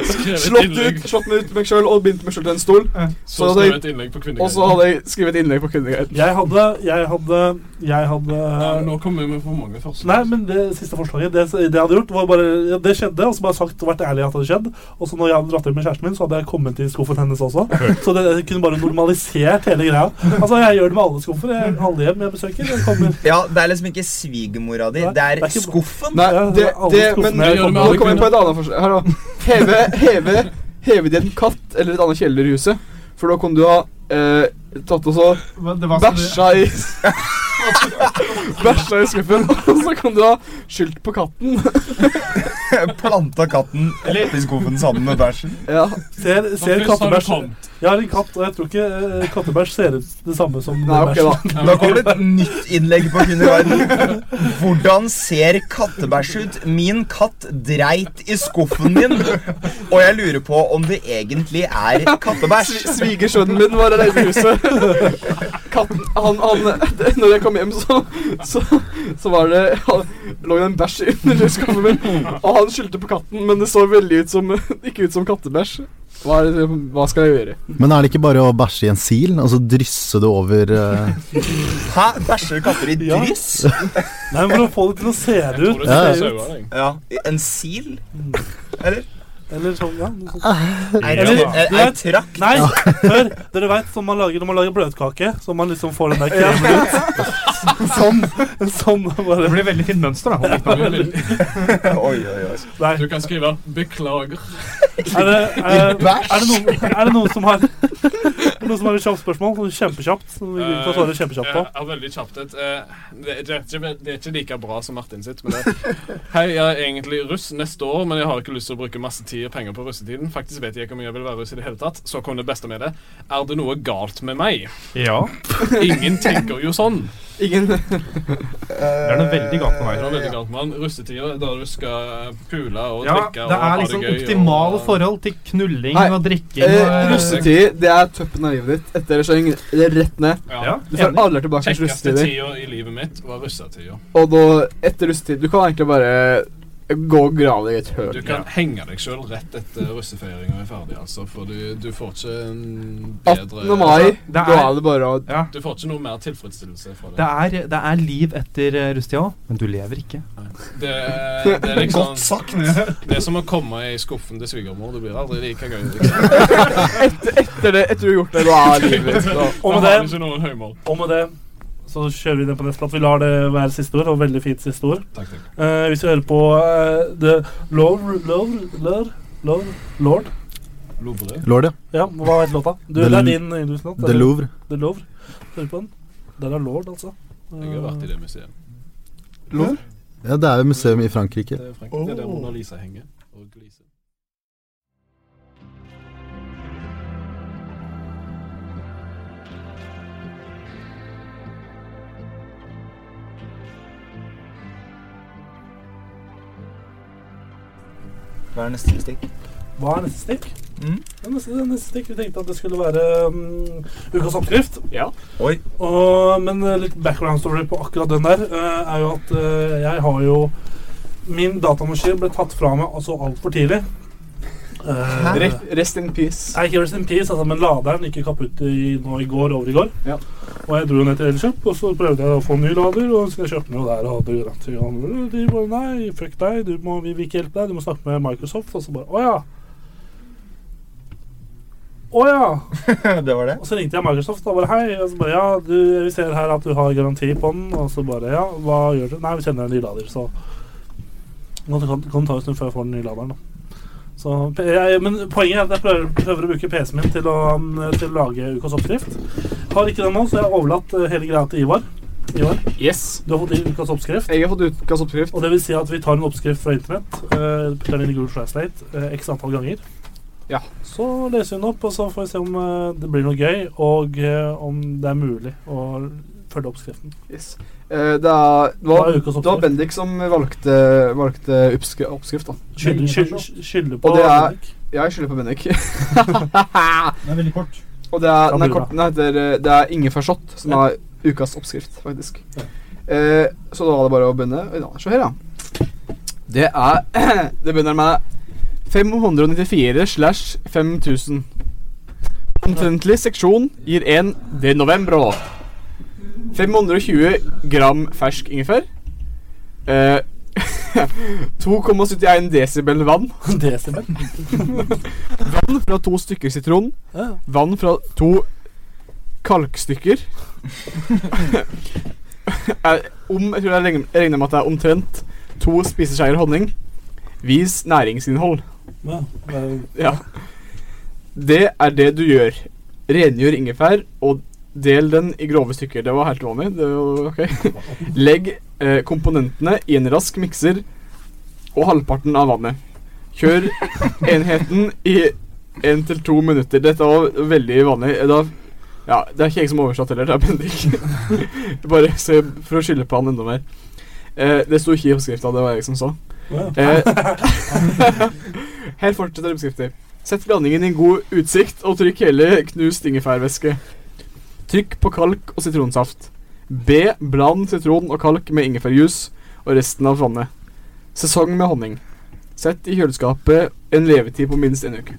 Skrevet slått innlegg. ut, slått meg ut meg sjøl og bindt meg sjøl til en stol. Så hadde jeg- skrevet innlegg på Og så Kvinneguiden. hadde jeg skrevet innlegg på Kvinneguiden. Jeg hadde Jeg hadde Jeg hadde Ja, men nå kommer vi med for mange forslag. Nei, men det siste forslaget Det, det jeg hadde gjort, var bare ja, Det skjedde, og så bare sagt og vært ærlig at det hadde skjedd. Og så når jeg hadde dratt hjem med kjæresten min, så hadde jeg kommet i skuffen hennes (laughs) også. Så det, jeg kunne bare normalisert hele greia. Altså, jeg gjør det med alle skuffer. Jeg, alle hjem jeg besøker. Jeg kommer Ja, det er liksom ikke svigermora di, Nei, det det er er ikke- skuffen. Nei, Ja, det, alle det, skuffene men jeg gjør med nå alle kommer jeg på kvinner. et annet forslag. Her, da. Heve, heve, heve de en katt eller et annet kjeller i huset, for da kan du ha eh, tatt og så Men det var så det- bæsja i (laughs) Bæsja i skuffen, (laughs) og så kan du ha skylt på katten. (laughs) Planta katten oppi skuffen sammen med bæsjen. Ja, Ser, ser Pluss har du kattebæsj tomt. Jeg har en katt, og jeg tror ikke eh, kattebæsj ser ut det samme som Nei, ok, bæsj. da. Da kommer det et nytt innlegg på Kvinneguiden. Hvordan ser kattebæsj ut? Min katt dreit i skuffen din. Og jeg lurer på om det egentlig er kattebæsj. Svi- (laughs) Svigersønnen min var alene i huset. (laughs) Katten han, han (laughs) Når jeg kom hjem, så Så, så var det han, lå det en bæsj under skuffen min, og han skyldte på katten, men det så veldig ut som (laughs) ikke ut som kattebæsj. Hva, er det, hva skal jeg gjøre? Men er det ikke bare å bæsje i en sil, og så drysse det over (laughs) eh, Hæ? Bæsjer katter i Ja. dryss? Nei, men for å få det til å se det Jeg ut. tror Ja. det ser sauer, jeg. Ja. En sil? Eller sånn, ja. noe sånt. Eller Ja. ei trakt? Nei, hør! Dere veit som man lager når man lager bløtkake. Så man liksom får den der kremen ut. Sånn. sånn Det bare. blir veldig fint mønster, da. Om ikke Du vil- Oi, oi, oi. Nei. Du kan skrive 'beklager'. Er det, er, er, det noen, er det noen som har Er det noen som har et kjapt spørsmål? Sånn Kjempekjapt. Som vi kan Eh, svare kjempekjapt på. Jeg har veldig kjapt et eh, det, det, er ikke- det er ikke like bra som Martin sitt, men det (laughs) Hei, jeg er egentlig russ neste år, men jeg har ikke lyst til å bruke masse tid og penger på russetiden. Faktisk vet jeg ikke om jeg vil være russ i det hele tatt. Så kom det beste med det. Er det noe galt med meg? Ja. Ingen tenker jo sånn. Ingen Det er noe veldig galt på Det er vei. veldig galt med han. Russetida, da du skal pule og Ja, drikke og det er ha liksom det gøy. optimale og- forhold til knulling Nei, og drikking eh, og Russetid, det er toppen av livet ditt. Etter det så er ingen- det er rett ned. Ja. Ja, Du får enig. aldri tilbake til Kjekkeste russetider. tida i livet mitt var russetida. Og da, etter russetid Du kan egentlig bare gå og grave deg i et høl. Du kan henge deg sjøl rett etter russefeiringa er ferdig, altså. For du, du får ikke en 18. bedre Altså, mai, Det da er- er det bare å Ja. Du får ikke noe mer tilfredsstillelse fra Det det. er, det er liv etter eh, rusttida òg, men du lever ikke. Det, det er liksom Godt sagt. Det er som å komme i skuffen til svigermor. Det blir aldri like gøy. Liksom. Etter det, etter du har gjort det, da er livet ditt da. Og med Da har du det, ikke noen høymål. og med det så kjører vi den på neste plass. Vi lar det være siste ord, og veldig fint siste ord. Takk, takk. Eh, hvis vi hører på eh, The Lord Lord Lord, Lord, Lord. Lovre. Lorde? Ja, hva heter låta? Du, The det er L- din yndlingslåt. The eller? Louvre? The Louvre. Hører på den. Der er Lord, altså. Jeg har vært i det museet. Ja, det er jo museum i Frankrike. Det er, Frank. det er der Mona Lisa henger. Og gliser. Hva er neste stikk? (laughs) Eh, Hva er neste stikk? Mm. Ja, neste, det er neste stikk, Vi tenkte at det skulle være um, ukas oppskrift. Ja. Oi. Og, men eh, litt background story på akkurat den der eh, er jo at eh, jeg har jo Min datamaskin ble tatt fra meg altså altfor tidlig. Uh, Re- Rest in peace. Nei, ikke Rest in Peace, altså, men laderen gikk jo kaputt i, nå i går, over i går. Ja. Og jeg dro ned til Elkjøp, og så prøvde jeg å få en ny lader, og så skulle jeg kjøpe den jo der, og hadde rett til han. Øh, De bare, nei, fuck deg, du må, vi vil ikke hjelpe deg, du må snakke med Microsoft, og så bare, åja. Åja. Det var det. Og så ringte jeg Microsoft, og bare, hei, og så bare, ja, du, vi ser her at du har garanti på den, og så bare, ja, hva gjør du? Nei, vi sender en ny lader, så. Men Det kan, kan ta en stund før jeg får den nye laderen. Da. Så, p- jeg, men poenget er at jeg prøver, prøver å bruke PC-en min til å, mm, til å lage ukas oppskrift. Har ikke den nå, så jeg har overlatt eh, hele greia til Ivar. Ivar, Yes. du har fått i ukas oppskrift. Jeg har fått utkast oppskrift. Og det vil si at vi tar en oppskrift fra internett, eh, putter den inn i Google Translate eh, x antall ganger. Ja. Så leser vi den opp, og så får vi se om eh, det blir noe gøy, og eh, om det er mulig å følge oppskriften. Yes. Eh, det, er, det, var, Det er ukas det var oppskrift. Bendik som valgte, valgte oppskri- oppskrift, da. Skylder skyld, skylder på Og det er- (laughs) Henrik. Jeg skylder på Bendik. Den er veldig kort. Og det er, Ja, den er bra. kort, den heter, eh, det er ingefærshot som Ja. er ukas oppskrift, faktisk. Ja. Eh, så da var det bare å begynne. Oi, da, Se her, ja. Det er (clears throat) Det begynner med 594 slash 5000. Omtrentlig seksjon gir 1 de novembro. 520 gram fersk ingefær. Eh, (laughs) 2,71 desibel vann. (laughs) Desibel. Vann fra to stykker sitron. Ja. Vann fra to kalkstykker. Er- Om, jeg tror jeg regner- jeg regner med at det er omtrent to spiseskjeer honning. Vis næringsinnhold. Ja, det er- (laughs) Ja. Det er det du gjør. Rengjør ingefær og del den i grove stykker. Det var helt vanlig. Det var ok. Legg eh, komponentene i en rask mikser og halvparten av vannet. Kjør enheten i én til to minutter. Dette var veldig vanlig. Da, ja, det er ikke jeg som har oversatt heller, det er Bendik. (laughs) Bare se for å skylde på han enda mer. Eh, det sto ikke i oppskrifta, det var jeg som sa. Ja. (laughs) Eh, her fortsetter oppskrifter. Sett blandingen i en god utsikt og trykk hele knust ingefærvæske. Trykk på kalk og sitronsaft. B. Bland sitron og kalk med ingefærjuice og resten av vannet. Sesong med honning. Sett i kjøleskapet en levetid på minst en uke.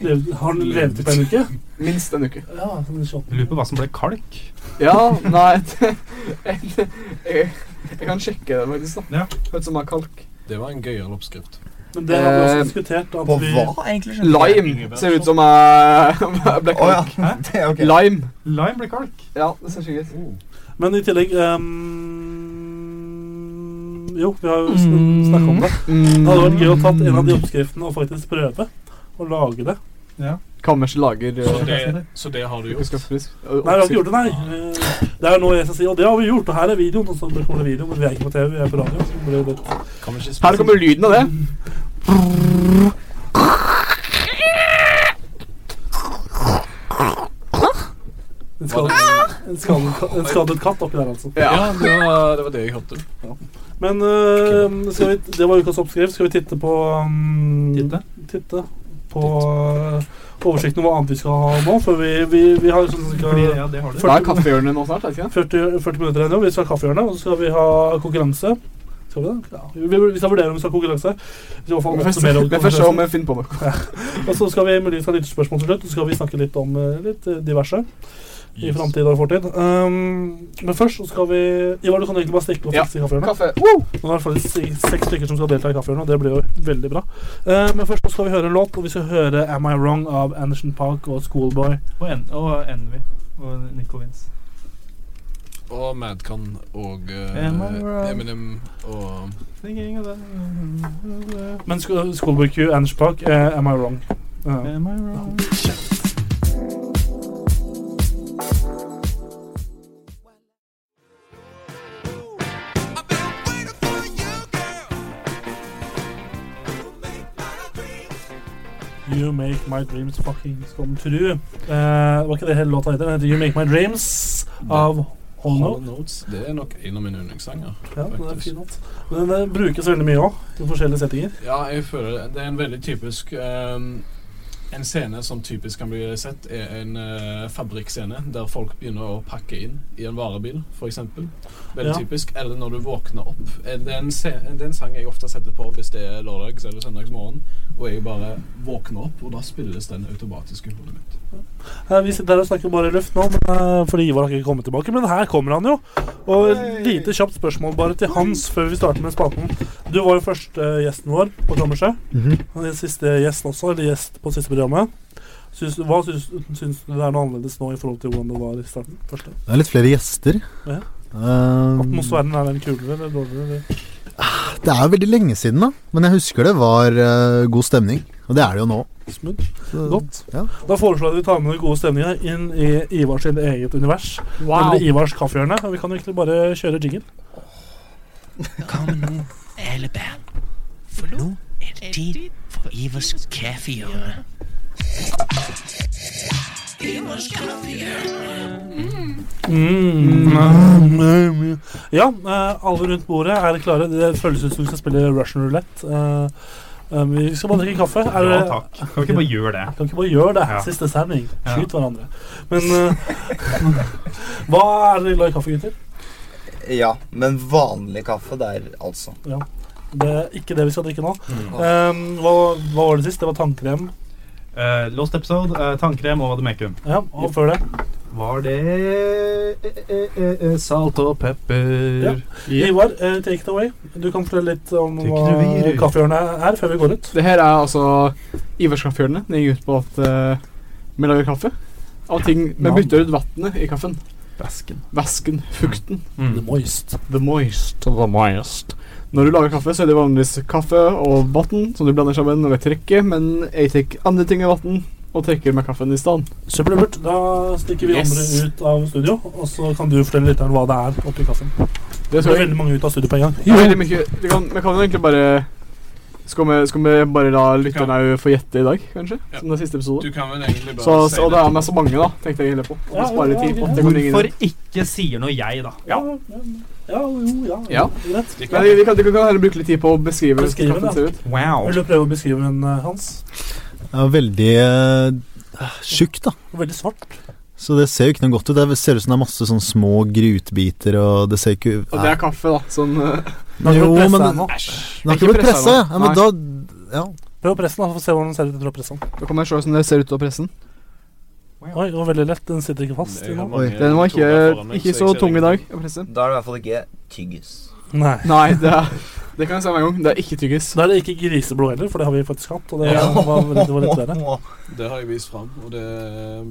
Lev- Har den levd på en uke? Minst en uke. Ja, sånn Jeg lurer på hva som ble kalk. Ja, nei (laughs) jeg, jeg, jeg kan sjekke det faktisk, da. Ja. Hørt som er kalk. Det var en gøyere oppskrift. Men det har vi også Eh, diskutert. At På vi, hva, egentlig? skjønner jeg? Lime ser ut som er (laughs) Black Å ja. Coke. (laughs) Det er ok. Oh. Lime. Lime ble kalk. Ja, det ser slik ut. Men i tillegg ehm, Jo, vi har jo sn- snakket om det. Det hadde vært gøy å tatt en av Mm. de oppskriftene og faktisk prøve å lage det. Kammers lager Så eh, det, så det har du gjort. kunnskapsfrisk. Nei, vi har ikke gjort det, nei. Eh, Det er noe jeg skal si, og det har vi gjort. Og her er videoen. Og så kommer det video, men vi er ikke på TV, vi er på radio. Så det blir jo litt Kan vi ikke Her spise kommer lyden av det. en skadet, en skadet, en skadet katt oppi der, altså. Ja, det var det, var det jeg hørte. Men eh, skal vi, det var ukas oppskrift. Skal vi titte på mm, Titte? titte på eh, oversikten over hva annet vi skal ha nå? For vi, vi, vi har sånn cirka Fordi, ja, det har du. Det er kaffehjørnet nå snart, er det ikke det? 40, 40 minutter igjen. jo. Vi skal ha kaffehjørne, og så skal vi ha konkurranse. Skal vi det? Ja. Vi, vi skal vurdere om vi skal ha konkurranse. Vi skal i hvert fall Vi får se- oppsummere Vi får se om konkurransen. jeg finner på noe. Og så skal vi muligens ha lyttespørsmål til slutt, og så skal vi snakke litt om eh, litt eh, diverse. I framtid og fortid. Um, men først så skal vi Ivar, du kan egentlig bare stikke og Ja. fikse i kaffehjørnet. Kaffe. Woo! Nå er det i hvert fall si- seks stykker som skal delta i kaffehjørnet, og det blir jo veldig bra. Eh, men først så skal vi høre en låt, og vi skal høre 'Am I Wrong' av Anderson Park og Schoolboy. Og, en, og Envy. Og Nico Vince. Og Madcon og eh, Am I wrong? Eminem og Thinking of that. Men Sk- Schoolboy Q, Anderson Park, eh, 'Am I Wrong'. Ja. Am I wrong? You Make My Dreams Fucking Come True. Eh, var ikke det hele låta heter? Den heter You Make My Dreams av Hollow Hollow Note. Notes. Det er nok en av mine yndlingssanger. Ja, den er faktisk. fin låt. Men den eh, brukes veldig mye òg, i forskjellige settinger. Ja, jeg føler det. Det er en veldig typisk ehm, En scene som typisk kan bli sett, er en eh, fabrikkscene der folk begynner å pakke inn i en varebil, f.eks. Veldig Ja. typisk. Eller når du våkner opp. Eh, Det er, en se det er en sang jeg ofte setter på hvis det er lørdags eller søndagsmorgen, og jeg bare våkner opp, og da spilles den automatisk i hodet mitt. Eh, vi sitter her og snakker bare i luft nå, men, eh, fordi Ivar har ikke kommet tilbake. Men her kommer han jo. Og et lite kjapt spørsmål bare til Hans før vi starter med spalten. Du var jo første eh, gjesten vår på kammerset. Mhm. Han er siste gjest også, eller gjest på siste programmet. Syns, du- hva syns, syns du det er noe annerledes nå i forhold til hvordan det var i starten? Første? Det er litt flere gjester. Ja. Ehm, Atmosfæren er den kulere eller dårligere? Eller? Det er jo veldig lenge siden, da. Men jeg husker det var eh, god stemning. Og det er det jo nå. Smooth. Så- Godt. Ja. Da foreslår jeg at vi tar med den gode stemninga inn i Ivars sitt eget univers. Wow. Nemlig Ivars kaffehjørne. Og vi kan egentlig bare kjøre jingle. Alle barn, for nu er det tid for Ivers kaffehjørne. Ivers kaffehjørne. Mm. Mm. Ja, eh, alle rundt bordet er klare. Det føles ut som vi skal spille Russian roulette. Eh, eh, vi skal bare drikke kaffe. Er Ja, det- takk. Kan vi ikke bare gjøre det? Kan vi ikke bare gjøre det? Ja. Siste sending. Ja. Skyt hverandre. Men eh, (laughs) hva er dere glad i kaffe, gutter? Ja, men vanlig kaffe der, altså. Ja. Det er ikke det vi skal drikke nå. Mm. Eh, hva, hva var det sist? Det var tannkrem. Eh, lost episode, eh, tannkrem og vademecum. Ja, og før det? Var det eh, eh, salt og pepper. Ja. Ivar, eh, take it away. Du kan fortelle litt om Take it hva away. kaffehjørnet er, før vi går ut. Det her er altså Ivars kaffehjørne. Det går ut på at eh, vi lager kaffe av ting Vi Nam. bytter ut vannet i kaffen. Væsken. Væsken. Fukten. Mm. The moist. The moist. The moist. Når du lager kaffe, så er det vanligvis kaffe og vann som du blander sammen og trekker, men jeg tar andre ting med vann og trekker med kaffen i stedet. Supert. Da stikker vi Yes. andre ut av studio, og så kan du fortelle lytteren hva det er oppi kaffen. Det Det er tror jeg- veldig mange ut av studio på en gang. Det er veldig mye Vi kan, vi kan jo egentlig bare skal vi, skal vi bare la lytterne òg få gjette i dag, kanskje? Som den siste episode. Du kan vel egentlig bare så, si så, Og det. det er med så mange, da, tenkte jeg heller på. Og Ja, spare ja, tid. ja. og det kan ringe Hvorfor inn. ikke sier noe jeg, da? Ja. Ja, jo, ja. Ja. Greit. Men vi, vi kan, vi kan heller bruke litt tid på å beskrive Beskrive den, hvordan den ser ut. Vil du prøve å beskrive den, eh, Hans? Det er veldig uh, tjukt, da. Veldig svart. Så det ser jo ikke noe godt ut. Det ser ut som det er masse sånn små grutbiter, og det ser ikke Og det er kaffe, da. Sånn eh, Nei. Jo, men den Den har ikke blitt pressa, ja. ja. Men da Ja. Prøv å presse den, da, for å se hvordan den ser ut etter å presse den. Da kan jeg se hvordan det ser ut av pressen. Oi, det var veldig lett. Den sitter ikke fast. i noe. Oi. Den var ikke, ikke så tung i dag. å presse. Da er det i hvert fall ikke tyggis. Nei. Nei, det, er, det kan jeg si med en gang. Det er ikke tyggis. Da er det ikke griseblod heller, for det har vi faktisk hatt. Og det Ja. var veldig, det var (laughs) litt verre. Det har jeg vist fram, og det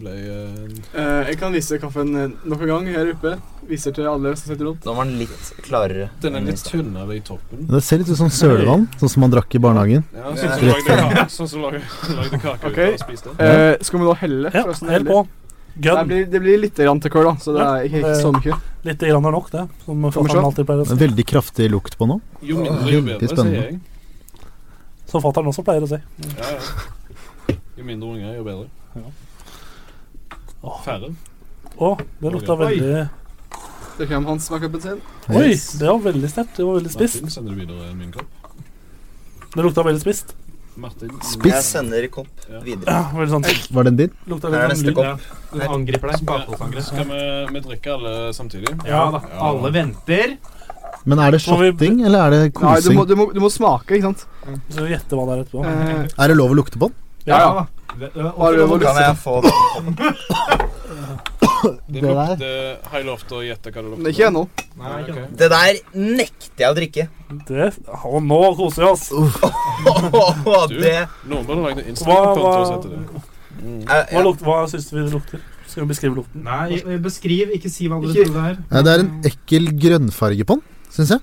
ble eh, Eh, jeg kan vise kaffen eh, nok en gang her oppe. Viser til alle som sitter rundt. Da var den litt klarere. Den er litt tynnere i toppen. Det ser litt ut som sølevann, sånn som man drakk i barnehagen. Ja, sånn Rett som lagde før. kake, (laughs) sånn som lagde, lagde kake Ok, ut av å spise det. eh, Skal vi da helle? Ja, for oss som hell heller? på. Det Gun. blir, det blir litt grann til køl, da, så det Ja. er ikke, ikke så mye. Litt grann er nok, det. Som se. fatter'n alltid pleier å si. Veldig kraftig lukt på nå. Jo mindre, jo Veldig bedre, sier spennende. jeg. Som fatter'n også pleier å si. Ja, ja. Jo mindre unger, jo bedre. Færre. Å, det lukta Oi. veldig Det kommer hans med cupen sin. Oi, det var veldig sterkt. Det var veldig spist. Martin sender du videre min kopp. Det lukta veldig spist. Martin. Jeg sender kopp videre. Ja, Veldig sånn Var den din? Lukta Her er litt sånn neste lyd. kopp. Den angriper deg. Skal Bakholdsangrep. vi, vi drikke alle samtidig? Ja da. Alle venter. Men er det Må vi- shotting, eller er det Nei, du kosing? må, du, må, du må smake, ikke sant? Så skal vi gjette hva det er etterpå. Eh, Er det lov å lukte på den? ja, ja. Det- Har du og- lov å Kan jeg få Det Det der? lukte Har jeg lov til å gjette hva det Men lukter? Ikke (laughs) ennå. Nei, ikke det. Det der nekter jeg å drikke. (laughs) Det, og nå koser vi oss. det Noen burde lagd en Hva- Instagram-konto og hva- sette det. er, Hva, lukt, hva syns vi det lukter? Skal vi beskrive lukten? Nei, eh, beskriv. Ikke si hva du Ikke- tror det er. Nei, det er en ekkel grønnfarge på den, syns jeg.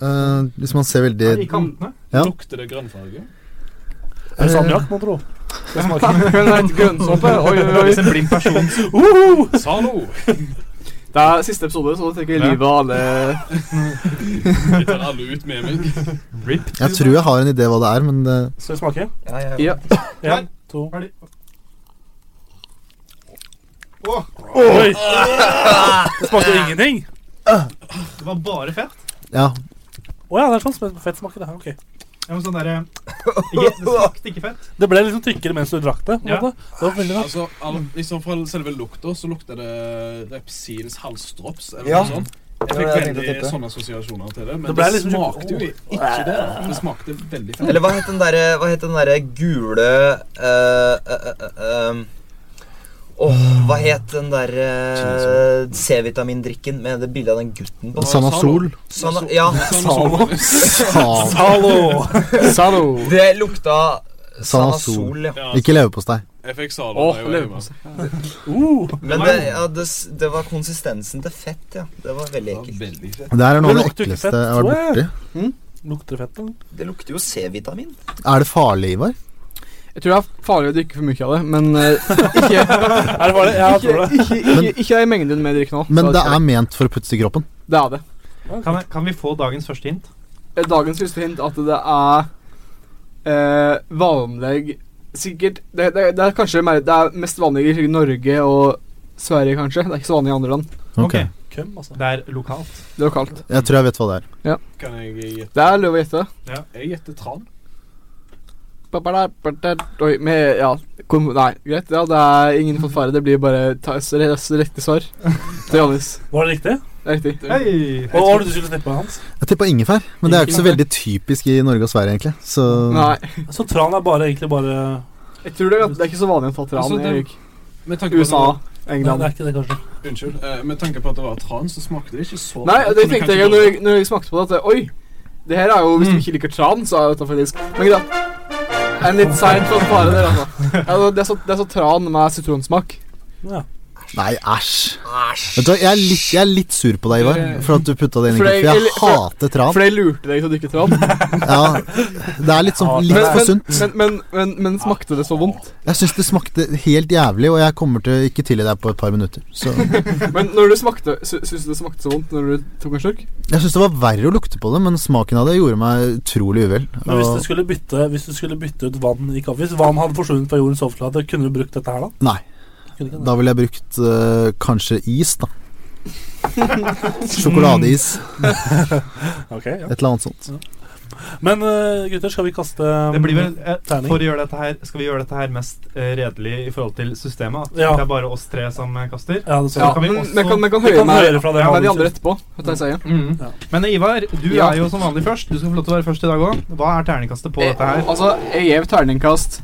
Eh, hvis man ser veldig I kantene. Ja. Lukter det grønnfarge? Eh, Er det salmiakk, mon tro? Det smaker Men (laughs) det er et grønnsåpe. Oi, oi, Hvis (laughs) en oi. blind person Zalo! Det er siste episode, så da tenker jeg livet (laughs) av alle Jeg tar alle ut med meg. Ripped. Jeg tror jeg har en idé hva det er, men det Skal vi smake? ja, ja, ja. Ja. Én, to Ferdig. Oi! Det smaker jo ingenting. Det var bare fett. Ja. Å ja, det er sånn som fett smaker det her. Ok. Ja, men sånn der, eh, (laughs) ikke, Det smakte ikke fett. Det ble liksom tykkere mens du drakk det. på en Ja. måte. Det var veldig rart. Altså, all, liksom Fra selve lukta så lukter det repsils halsdrops eller Ja. noe sånt. Det var Jeg fikk det jeg tenkte å veldig tippe. sånne assosiasjoner til det, men Det det, ble liksom- smakte jo ikke det. Det smakte veldig fett. Eller hva het den derre Hva het den derre gule eh, eh, eh, eh, Åh, hva het den derre eh, C-vitamindrikken med det bildet av den gutten på? Sanna (laughs) Sol. Sånn, ja, Salo. Faen. Hallo! Salo. det lukta Sanna Sanna Sol. Sol, ja. (laughs) Ja, Ikke leverpostei. jeg fikk Salo Åh, da jeg var hjemme. leverpostei. Uh, Men det, ja, det, s- det var konsistensen til fett, ja. Det var veldig Det var ekkelt. veldig fett. Det her er noe av det Det lukter ikke ekleste fett, jeg har vært borti. Lukter det fett, da? Det lukter jo C-vitamin. Er det farlig, Ivar? Jeg tror det er farlig å drikke for mye av det, (laughs) men eh, ikke, Er det farlig? Ja, jeg tror det. ikke, ikke, ikke, ikke i mengden med drikker nå. Men Så det er ment for å puttes i kroppen. Det er det. Kan, jeg, kan vi få dagens første hint? Eh, Dagens første hint at det er eh, vanlig Sikkert det, det, det er kanskje mer, det er mest vanlig i Norge og Sverige, kanskje. Det er ikke så vanlig i andre land. Ok. Hvem, altså? Det er lokalt. Det er jo kaldt. Jeg tror jeg vet hva det er. Kan jeg gjette? Det er lov å gjette. Jeg gjetter tran. Oi, med, ja, kom, Nei, greit. Ja, det er ingen fanfare. Det blir bare ta- s- re- s- riktig svar til Johannes. Var det riktig? Det er riktig. Hei! Hva var det du skulle slippe, Hans? Jeg tippa ingefær, men det er jo ikke så veldig typisk i Norge og Sverige, egentlig. Så Nei, Så tran er bare, egentlig bare jeg tror det, er- det er ikke så vanlig å ta tran Altså, i det- Med tanke på at det USA, var- Nei, England. det er ikke det, kanskje. Unnskyld. eh, Med tanke på at det var tran, så smakte det ikke så Nei, det tran, så du kan tenkte ikke jeg når, blande- jeg når jeg smakte på det. At oi, det her er jo Hvis du ikke liker tran, så er jo dette faktisk Men greit. En litt seint å spare det, altså. Ja, det, er så, det er så tran med sitronsmak. Nei, æsj. Vet du hva, jeg er litt, jeg er litt sur på deg, Ivar, for at du putta det inn i For jeg- kroppen. For eller- jeg hater tran. For jeg lurte deg til å drikke tran. Ja, det er litt, sånn, litt Men, for men, sunt. men, men, men, men smakte det så vondt? Jeg syns det smakte helt jævlig, og jeg kommer til å ikke tilgi deg på et par minutter. Så jeg Men når du smakte, sy syns du det smakte så vondt når du tok en slurk? syns det var verre å lukte på det, men smaken av det gjorde meg utrolig uvel. Men hvis du, Og, skulle bytte, hvis du skulle bytte ut vann i kaffe Hvis vann hadde forsvunnet fra jordens overflate, kunne du brukt dette her da? nei, Kunne ikke det? da ville jeg brukt eh, kanskje is, da. Sjokoladeis, Ok, ja. et eller annet sånt. Men eh, gutter, skal vi kaste um, Det blir vel, eh, terning. for å gjøre dette her, skal vi gjøre dette her mest eh, redelig i forhold til systemet? At Ja. det er bare oss tre som eh, kaster? Ja, det Ja, skal kan vi men også- men kan, men kan vi. Vi høre kan med, høre fra dere. med de Hans. andre etterpå. Hva tar jeg igjen? Mhm. Ja. Men Ivar, du Ja. er jo som vanlig først. Du skal få lov til å være først i dag òg. Hva er terningkastet på dette Eh, her? Altså, jeg gjev terningkast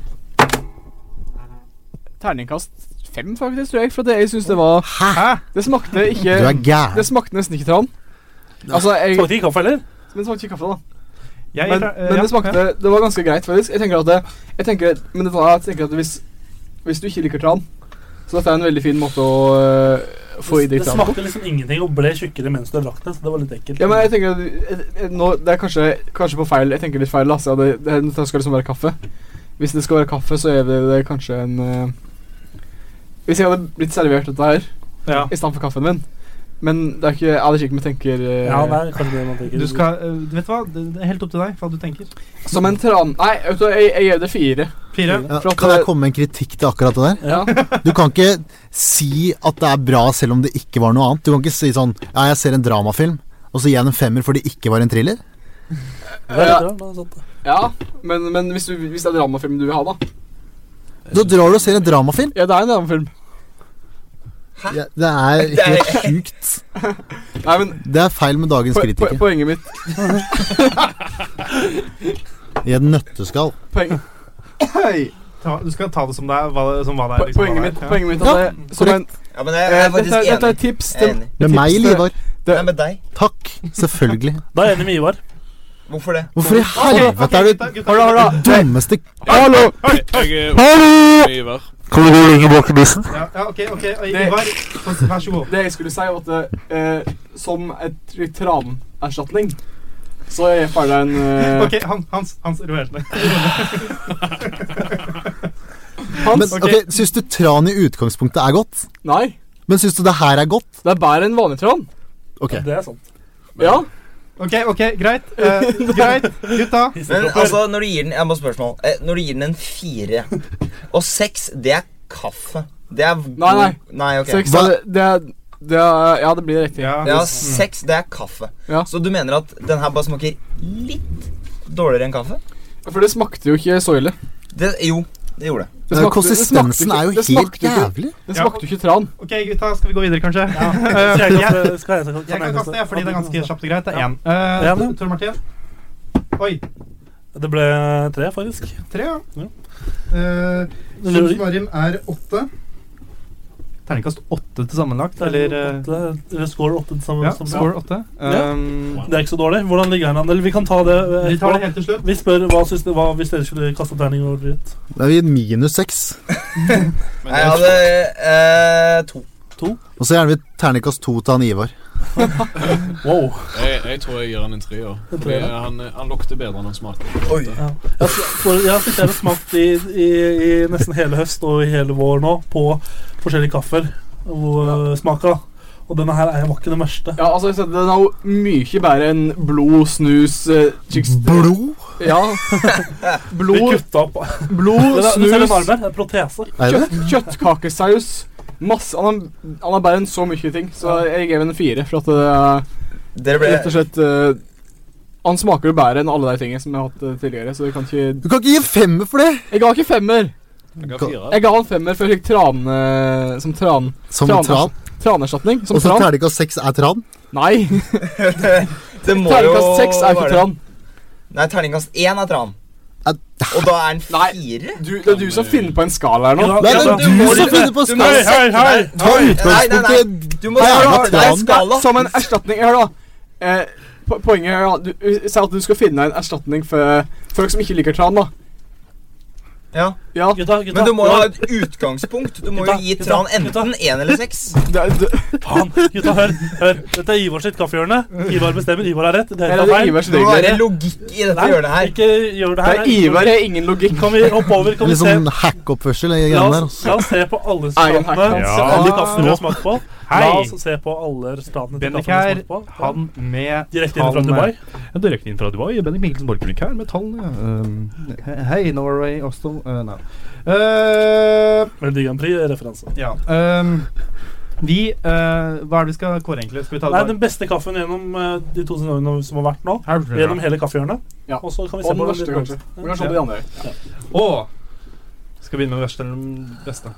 Terningkast fem, faktisk, tror jeg. For det, jeg syns det var Hæ? Det smakte ikke Du er Ehm, Det gæren. smakte nesten ikke tran. Altså, jeg Smakte ikke kaffe, eller? Men det smakte ikke kaffe, da. Jeg, Men, eh, men ja, det smakte Det var ganske greit, faktisk. Jeg tenker at det, jeg tenker, Men det var, jeg tenker at hvis, hvis du ikke liker tran Så dette er en veldig fin måte å øh, få i Det deg tran på. smakte liksom ingenting og ble tjukkere mens du drakk det, så det var litt ekkelt. Ja, men jeg tenker at eh, eh, nå, Det er kanskje, kanskje på feil Jeg tenker litt feil, altså. Det, det, dette skal liksom være kaffe. Hvis det skal være kaffe, så er det, det kanskje en eh, Hvis jeg hadde blitt servert dette her ja. i stedet for kaffen min Men det er ikke, jeg hadde ikke med tenker eh, ja, det er kanskje det man tenker. Du skal eh, du Vet hva? Det det er helt opp til deg hva du tenker. Som en tran... Nei, vet du hva, jeg, jeg gir det fire. Fire. Ja, kan jeg komme med en kritikk til akkurat det der? Ja. Du kan ikke si at det er bra selv om det ikke var noe annet. Du kan ikke si sånn Ja, jeg ser en dramafilm, og så gir jeg den en femmer fordi det ikke var en thriller. (laughs) Det er litt rart, da, sant? Ja, men, men hvis, du, hvis det er dramafilm du vil ha, da? Da drar du og ser en dramafilm. Ja, det er en dramafilm. Ja, det er helt sjukt. Nei, men Det er feil med dagens po po kritikere. poenget mitt I et nøtteskall. poeng, Hei! Ta, du skal ta det som det er. Hva, som hva det Po er, liksom, hva poenget mitt det er. Poenget mitt at det, som en, Ja, men jeg, eh, jeg er dette, faktisk er- dette er enig. et tips Jeg er til enig. Med meg, Tipset- Livar. Nei, med deg. Takk. Selvfølgelig. Da er jeg enig med Ivar. Hvorfor det? Hvorfor i helvete er du Gutta, Hold da, hold da. den dummeste Hallo! Hei, jeg er Hallo! Ivar. Kan du gå lenger bak i bussen? Ja, ja, ok, ok. Det- Ivar, vær- vær så god. Det jeg skulle si, var at eh, som et tranerstatning så er jeg ferdig en eh, Ok, han, Hans, Hans roer ned. Men, Hans? ok, Syns du tran i utgangspunktet er godt? Nei, Men syns du det her er godt? det er bedre enn vanlig tran. Ok. Det er sant. Ja. Ok, ok, greit. Eh, greit, gutta. Men altså, når du gir den Jeg må ha spørsmål. Eh, Når du gir den en fire Og seks, det er kaffe. Det er god- Nei, nei. Nei, ok. Seks, er det, det, er- det er Ja, det blir riktig. Ja. Ja, seks, det er kaffe. Ja. Så du mener at den her bare smaker litt dårligere enn kaffe? For det smakte jo ikke så ille. Det, jo, det gjorde det. Det smakte- det smakte Konsistensen ikke- er jo det helt smakte ikke- jævlig. Det smakte jo ikke tran. Ok, gutta, skal vi gå videre, kanskje? Skal Eh, jeg jeg, kaste? Skal jeg, kan jeg kan kaste, ja, fordi det er ganske kjapt og greit. Det er Ja. én. Eh, Ja, men- Tor Martin? Oi. Det ble tre, faktisk. Tre, ja. Ja. Eh, Det lurer- Marim er åtte. Terningkast åtte til sammenlagt, eller eh, åtte, eller score åtte til sammen. Ja, som- score åtte. Ja. Um, Det er ikke så dårlig. Hvordan ligger den an? Eller vi kan ta det eh, vi tar det etterpå. helt til slutt. Vi spør hva, syns dere- hva hvis dere skulle kaste terning og dritt. Da er vi minus seks. Jeg hadde eh, to. eh, Og så gjerne vi terningkast to til han Ivar. Wow. Jeg, jeg tror jeg gir han en treer. En Fordi treer? han, han lukter bedre enn han smaker. Ja. Jeg har- for- Jeg har sittet her og smakt i, i, i nesten hele høst og i hele vår nå på forskjellige kaffer og ja. smaka. Og denne her er- var ikke den verste. Ja, altså, jeg sa, Den er jo mye bedre enn blod, snus eh, chicks- Blod? (laughs) Ja. Vi Blod, kutta opp. blod Det er- det er selv en snus, armer, det er protese. kjøtt, kjøttkakesaus Masse Han har- han har bare en så mye ting, så jeg gir henne en fire. For at det er Dere ble- rett og slett eh, Han smaker jo bedre enn alle de tingene som jeg har hatt eh, tidligere, så du kan ikke Du kan ikke gi femmer for det! Jeg ga ikke femmer. Jeg ga fire. Jeg ga han femmer før jeg fikk tran eh, som tran. Som tran- tran? Tranerstatning. Som Og så tran. terningkast seks er tran? Nei. Det må Terningkast jo seks er ikke være- tran. Nei, terningkast én er tran. Og da er den fire? Du, det er du som finner på en skala her nå. Ja, men du må- du må sette den der. Nei, nei, nei. Du må starte deg en skala. Som en erstatning Hør, da. Eh, po- poenget er at du Si at du skal finne en erstatning for folk som ikke liker tran, da. Ja. ja. Men du må jo ha et utgangspunkt. Du må jo Gutta, gi gutta, tran enten én eller seks. Faen, gutta, hør. hør. Dette er Ivar sitt kaffehjørne. Ivar bestemmer. Ivar har rett. Det Eller er feil. Ivar sin egen Det må være greie. logikk i dette hjørnet her. Ikke gjør det her. Det er Ivar, jeg har ingen logikk. Kan vi hoppe over? Kan vi Litt se? sånn hack-oppførsel. La i greiene der, oss, altså. la oss se på alle Egen resultatene. hack. Se Ja. alle kaffene vi har smakt på. La Hei. oss se på alle resultatene til Bendik kaffene vi har her, smakt på. han med Direkte inn fra tallene- Dubai. Ja, direkte inn fra Dubai. Bendik Mikkelsen Borchgrevink her med tallene. Um, he- Hei, Norway, Oslo uh, no. uh, Melodi Grand Prix-referanse. Ja. Um, vi uh, Hva er det vi skal kåre, egentlig? Skal vi ta det Nei, bare- den beste kaffen gjennom eh, de 2000 årene som har vært nå. Her blir det Gjennom bra. hele kaffehjørnet. Ja. Og så kan vi se Og den på verste, litt kanskje. Vi kan se på de andre. Ja. Å! Skal vi begynne med verst eller den beste?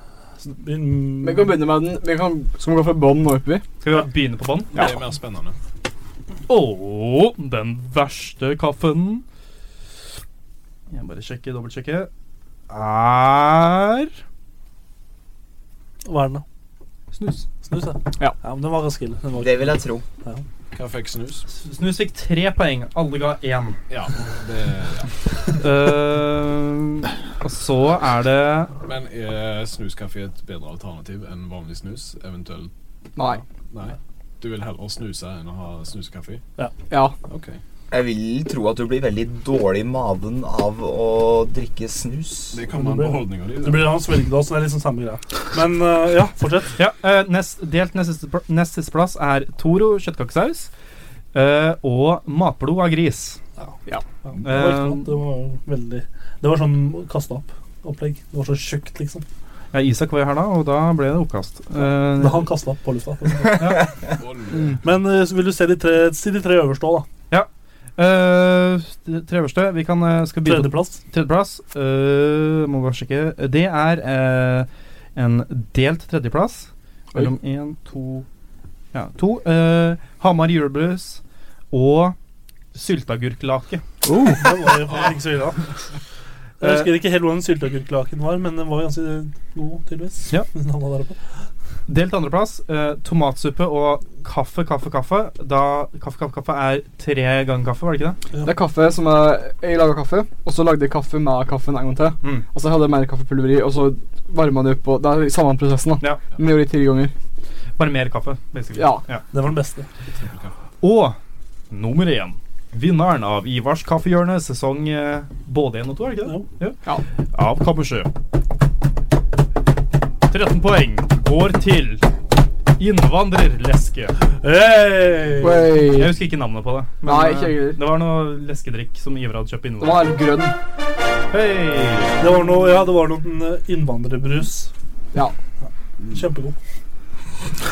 mm, Vi kan begynne med den. Vi kan, skal vi gå fra bånn og oppover? Skal vi begynne på bånn? Det er mer spennende. Å, den verste kaffen Jeg bare sjekke, dobbeltsjekke Er Hva er den, da? Snus. Snus, ja. ja. men den var ganske ille. Den var- Det vil jeg tro. Ja. Hva fikk snus? Snus fikk tre poeng. Alle ga én. Ja, det ja. Eh, og så er det Men eh, er snuskaffe et bedre alternativ enn vanlig snus? Eventuelt Nei. Nei. Du vil heller snuse enn å ha snuskaffe? Ja. ja. Ok. Jeg vil tro at du blir veldig dårlig i magen av å drikke snus. Det kommer an på holdninga di. Det blir han svelgede også, det er liksom samme greia. Men eh, ja, fortsett. Ja, eh, nest, Delt nest siste, pl- nest siste plass er Toro kjøttkakesaus eh, og matblod av gris. Ja. Ja, det var ikke noe, det var veldig Det var sånn kasta opp opplegg. Det var så tjukt, liksom. Ja, Isak var jo her da, og da ble det oppkast. Eh, Men han kasta opp på lufta. Ja. Men eh, så vil du se de tre, si de tre øverste òg, da. Ja. Eh, det tre øverste Vi kan eh, skal begynne- Tredjeplass. Tredjeplass. Eh, må bare sjekke. Det er eh, en delt tredjeplass mellom én, to Ja, to. Eh, Hamar julebrus og sylteagurklake. Oh. (laughs) Det var jo faen ikke så ille, da. Jeg husker ikke helt hvordan sylteagurklaken var, men den var ganske god, tydeligvis. Ja. (laughs) Den han var der oppe. Delt andreplass. Eh, tomatsuppe og kaffe, kaffe, kaffe. Da kaffe, kaffe, kaffe er tre ganger kaffe, var det ikke det? Det er kaffe som er Jeg laga kaffe, og så lagde jeg kaffe med kaffen en gang til. Mm. Og så hadde jeg mer kaffepulveri, og så varma det opp og Det er samme prosessen, da. Ja. Men jeg gjorde det ti ganger. Bare mer kaffe, basically. Ja. Den var den beste. Og nummer én. Vinneren av Ivars kaffehjørne sesong eh, både én og to, er det ikke det? Ja. Av Kammersjø. 13 poeng går til Innvandrerleske. Hey! Wey. Jeg husker ikke navnet på det. Nei, eh, ikke jeg heller. det var noe leskedrikk som Ivar hadde kjøpt på Den var innvandrere. helt grønn. Hei! Det var noe, ja, det var noen eh, innvandrerbrus. Ja. Kjempegod.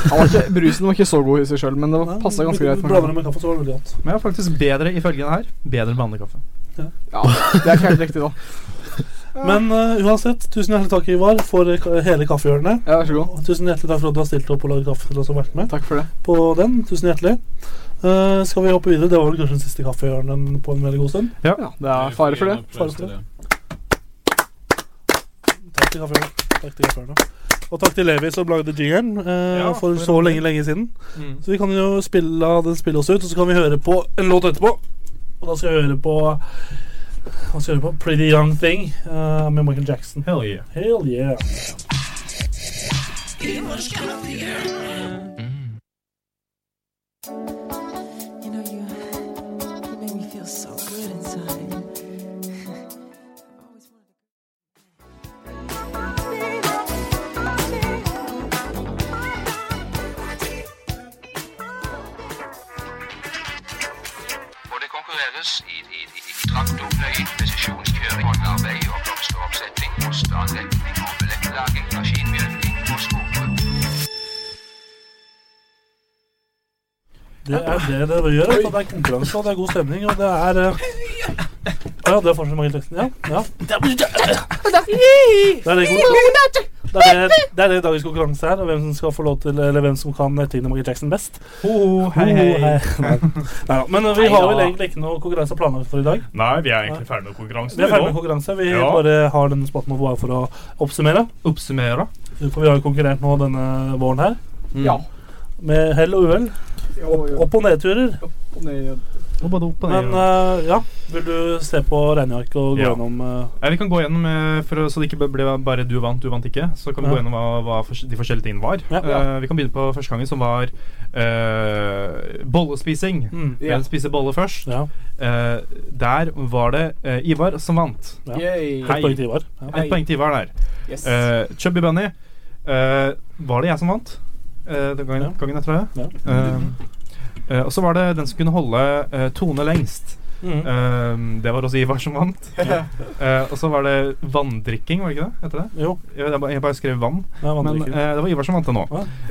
Den var ikke, brusen var ikke så god i seg sjøl, men det Nei, passa ganske greit. Blander med det med kaffe, så var det veldig godt. Men jeg er faktisk bedre ifølge den her. Bedre enn vanlig kaffe. kaffen. Ja, det er ikke helt riktig, da. Men eh, uansett, tusen hjertelig takk, Ivar, for eh, ka- hele kaffehjørnet. Ja, Vær så god. Og Tusen hjertelig takk for at du har stilt opp og lagd kaffe til oss og vært med Takk for det. på den. Tusen hjertelig. Eh, skal vi hoppe videre? Det var vel kanskje den siste kaffehjørnen på en veldig god stund. Ja, det er fare for det. Fare for det. Takk til kaffehjørnet. Takk til kaffehjørnet. Og takk til Levi som lagde jingeren eh, Ja, for for så all del. lenge, lenge siden. Mm. Så vi kan jo spille, la den spille oss ut, og så kan vi høre på en låt etterpå. Og da skal vi høre på Hva skal vi høre på? Pretty Young Thing eh, med Michael Jackson. Hell yeah. Hell yeah. Ivars kaffehjørne. behandles i, i, i, i traktorpløying, presisjonskjøring, håndarbeid og blomsteroppsetting, osteanlegning, omelett-laging, maskinmjølking og skogbruk. Det er det dere gjør. altså. Det er konkurranse, og det er god stemning, og det er eh, Å ja, det er fortsatt mange teksten. Ja. ja. Det er det, konkurran- det, er det, det er det dagens konkurranse er, og hvem som skal få lov til Eller hvem som kan etterligne Michael Jackson best. Ho, hei, Ho, hei. Nei. Neida, Men eh, vi har vel egentlig ikke noe konkurranse planlagt for i dag. Nei, vi er egentlig ferdig med konkurransen. Vi er ferdig med konkurranse. Vi Ja. bare har denne spotten vår for å oppsummere. Oppsummere. For vi har jo konkurrert nå denne våren her. Ja. Med hell og uhell. Opp, opp og nedturer. Og ned. Men eh, ja, vil du se på regnearket og gå Ja. gjennom eh, Ja, vi kan gå gjennom, eh, for, å- så det ikke ble bare du vant, du vant ikke. Så kan vi Ja. gå gjennom hva, hva fors- de forskjellige tingene var. ja. Eh, vi kan begynne på første gangen, som var eh, bollespising. Mm. Hvem Ja. spiser bolle først? Eh, der var det eh, Ivar som vant. Ja. Yay. Ett poeng til Ivar. Ja. Et poeng til Ivar der. Yes. Eh, Chubby Bunny, eh, var det jeg som vant? Eh, den gangen, gangen etter det? Eh, eh, og så var det den som kunne holde eh, tone lengst. Mhm. Eh, det var også Ivar som vant. (laughs) Ja. Eh, og så var det vanndrikking, var det ikke det? Heter det? Jo. Jeg, bare- jeg bare skrev vann. Ja, men vanndrikking. eh, det var Ivar som vant det nå.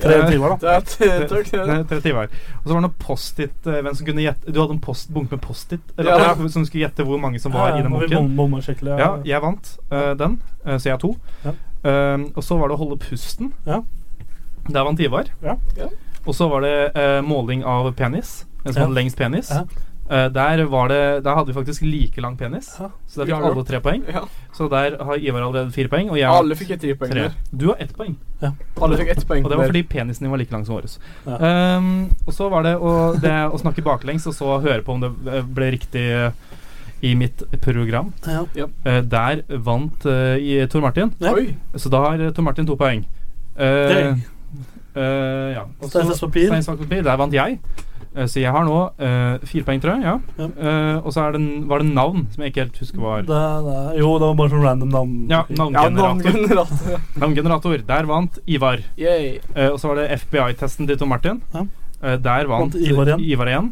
Tre Eh, til Ivar, da. Det er tre- tre til Ivar. det er tre til Ivar. Og så var det noe Post-It eh, Hvem som kunne gjette Du hadde en post, bunke med Post-It eller, Ja. noe som skulle gjette hvor mange som Ja, var ja, i den må vi bunken. bom- bomme skikkelig, ja, ja. jeg vant eh, den, eh, så jeg har to. Ja. Eh, og så var det å holde pusten. Der vant Ivar. Og så var det eh, måling av penis. Den som Ja. hadde lengst penis. Ja. Eh, der, var det, der hadde vi faktisk like lang penis, så der Ja, fikk ja. alle tre poeng. Ja. Så der har Ivar allerede fire poeng. Og jeg Alle fikk tre poeng der. Du har ett poeng. Alle fikk ett poeng Og det var der. fordi penisen din var like lang som vår. Ja. Ehm, og så var det å, det å snakke baklengs, og så høre på om det ble riktig eh, i mitt program. Ja. Ja. Eh, der vant eh, i Tor Martin. Ja. Oi. Så da har eh, Tor Martin to poeng. Eh, Dang. eh, ja. Og så- Stein, saks, papir. Stein, saks, papir. Der vant jeg. Eh, Så jeg har nå eh, fire poeng, tror jeg. Ja. Eh, og så er det, n- var det navn som jeg ikke helt husker var. Det, det, jo, det var bare sånn random navn. Ja, navngenerator. navngenerator. (laughs) navngenerator. Der vant Ivar. Yay. Eh, og så var det FBI-testen til Tom Martin. Eh, der vant, Vant Ivar igjen. igjen.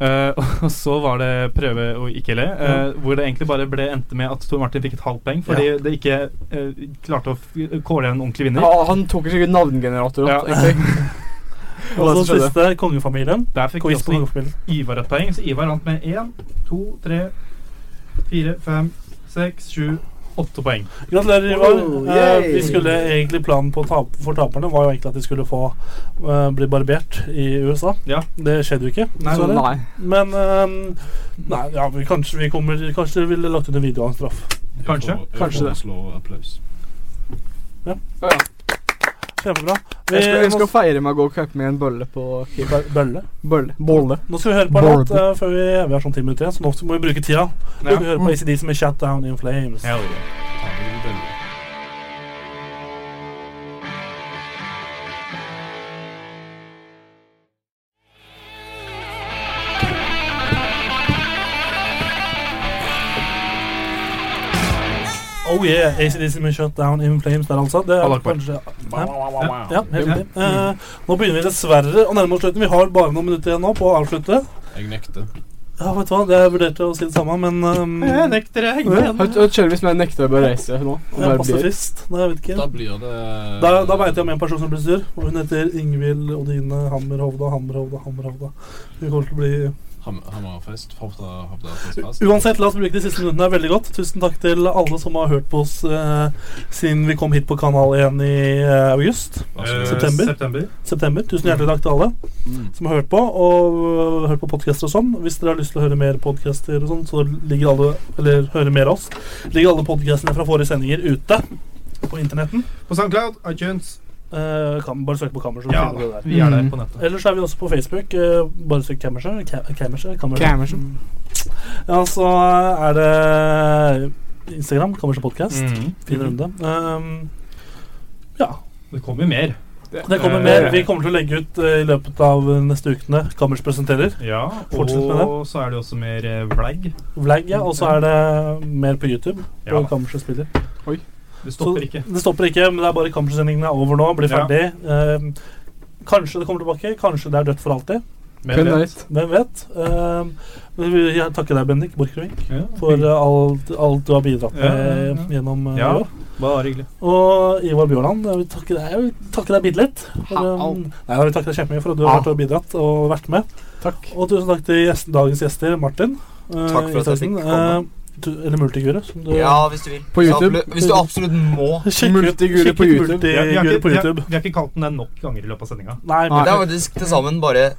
Eh, (laughs) og så var det prøve å ikke le, eh, hvor det egentlig bare ble endte med at Tor Martin fikk et halvt poeng fordi Ja. det ikke eh, klarte å f- kåle en ordentlig vinner. Ja, han tok ikke navngenerator. Ja. egentlig. Det var Og det så som skjedde. siste, Kongefamilien. Der fikk Quiz på også Ivar et poeng, så Ivar vant med én, to, tre, fire, fem, seks, sju, åtte poeng. Gratulerer, Ivar. Oh, Eh, yay. vi skulle egentlig Planen på tap for taperne var jo egentlig at de skulle få eh, bli barbert i USA. Ja. Det skjedde jo ikke. (laughs) Nei, dessverre. nei. Men ehm, Nei, ja, vi, kanskje vi kommer Kanskje vi ville lagt ut en video av en straff. Kanskje. Kanskje det. Slå applaus. Ja. Kjempebra. Jeg skal, jeg nå- skal feire med å gå og kjøpe meg en bølle på Bø- Bølle? Bølle. Bolle. Nå skal vi høre på en låt eh, før vi, vi har sånn ti minutter igjen, så nå må vi bruke tida. Nå skal vi høre på ACDC med 'Shut Down In Flames'. Hell Oh yeah, ACDC med 'Shut Down In Flames' der, altså. Det er Allah Akbar. kanskje Wow, wow, wow, wow. Ja, ja, helt Ja. riktig. Eh, nå begynner vi dessverre å nærme oss slutten. Vi har bare noen minutter igjen nå på å avslutte. Jeg nekter. Ja, vet du hva, jeg vurderte å si det samme, men ehm, Jeg nekter jeg. Hør, hør, Kjell, hvis jeg nekter å bare reise nå og Jeg er bare blir. pasifist. Nei, jeg vet ikke. Da blir det Da, da veit jeg om en person som blir sur. Og hun heter Ingvild Odine Hammerhovda, Hammerhovda, Hammerhovda. Hun kommer til å bli ham Hammerfest. Hofta, hofta, fest, fest. Uansett, la oss bruke de siste minuttene her veldig godt. Tusen takk til alle som har hørt på oss eh, siden vi kom hit på Kanal 1 i eh, august. Eh, september. september. September. Tusen hjertelig takk til alle Mm. som har hørt på, og eh, hørt på podcaster og sånn. Hvis dere har lyst til å høre mer podcaster og sånn, så ligger alle Eller høre mer av oss. Ligger alle podcastene fra forrige sendinger ute på internetten. På SoundCloud, iTunes. Eh, kam, bare søk på Kammerset. så Ja, finner du det der. vi er der på nettet. Ellers er vi også på Facebook. eh, bare søk Kammerset. Ka- Kammerset. Kammerset. Ja, så er det Instagram, Kammerset Podcast. Mhm. Fin runde. Um, ja. Det kommer mer. Det kommer mer. Vi kommer til å legge ut eh, i løpet av neste ukene. Kammers presenterer. Ja, Fortsett med det. og så er det jo også mer eh, vlagg. Vlagg, ja. Og så er det mer på YouTube. På Ja. Kammerset spiller. Oi. Det stopper Så ikke. Det stopper ikke, men det er bare Kammerset-sendingene er over nå. Blir Ehm, Ja. ferdig. Um, kanskje det kommer tilbake. Kanskje det er dødt for alltid. Hvem vet? Hvem vet? Ehm, men vi- jeg takker deg, Bendik Borchgrevink, for eh, alt, alt du har bidratt med Mm. Ja, ja, ja. gjennom eh, Ja, år. bare hyggelig. Og Ivar Bjørland, jeg vil takke deg, jeg vil takke deg bitte litt. For, Ha, au. ehm, nei, jeg vil takke deg kjempemye for at du har vært og bidratt og vært med. Og tusen takk til gjest, dagens gjester, Martin. eh, Takk for at jeg Isaksen. fikk komme. Eh, du- eller Multiguru, som du (laughs) Ja, hvis du vil. På YouTube. Absolutt. Hvis du absolutt må. Sjekk ut- Multiguru sjekk ut på YouTube. Multiguru Vi har, vi, har på ikke, vi, har, YouTube. vi har ikke kalt den det nok ganger i løpet av sendinga. Nei, men- Det er faktisk til sammen bare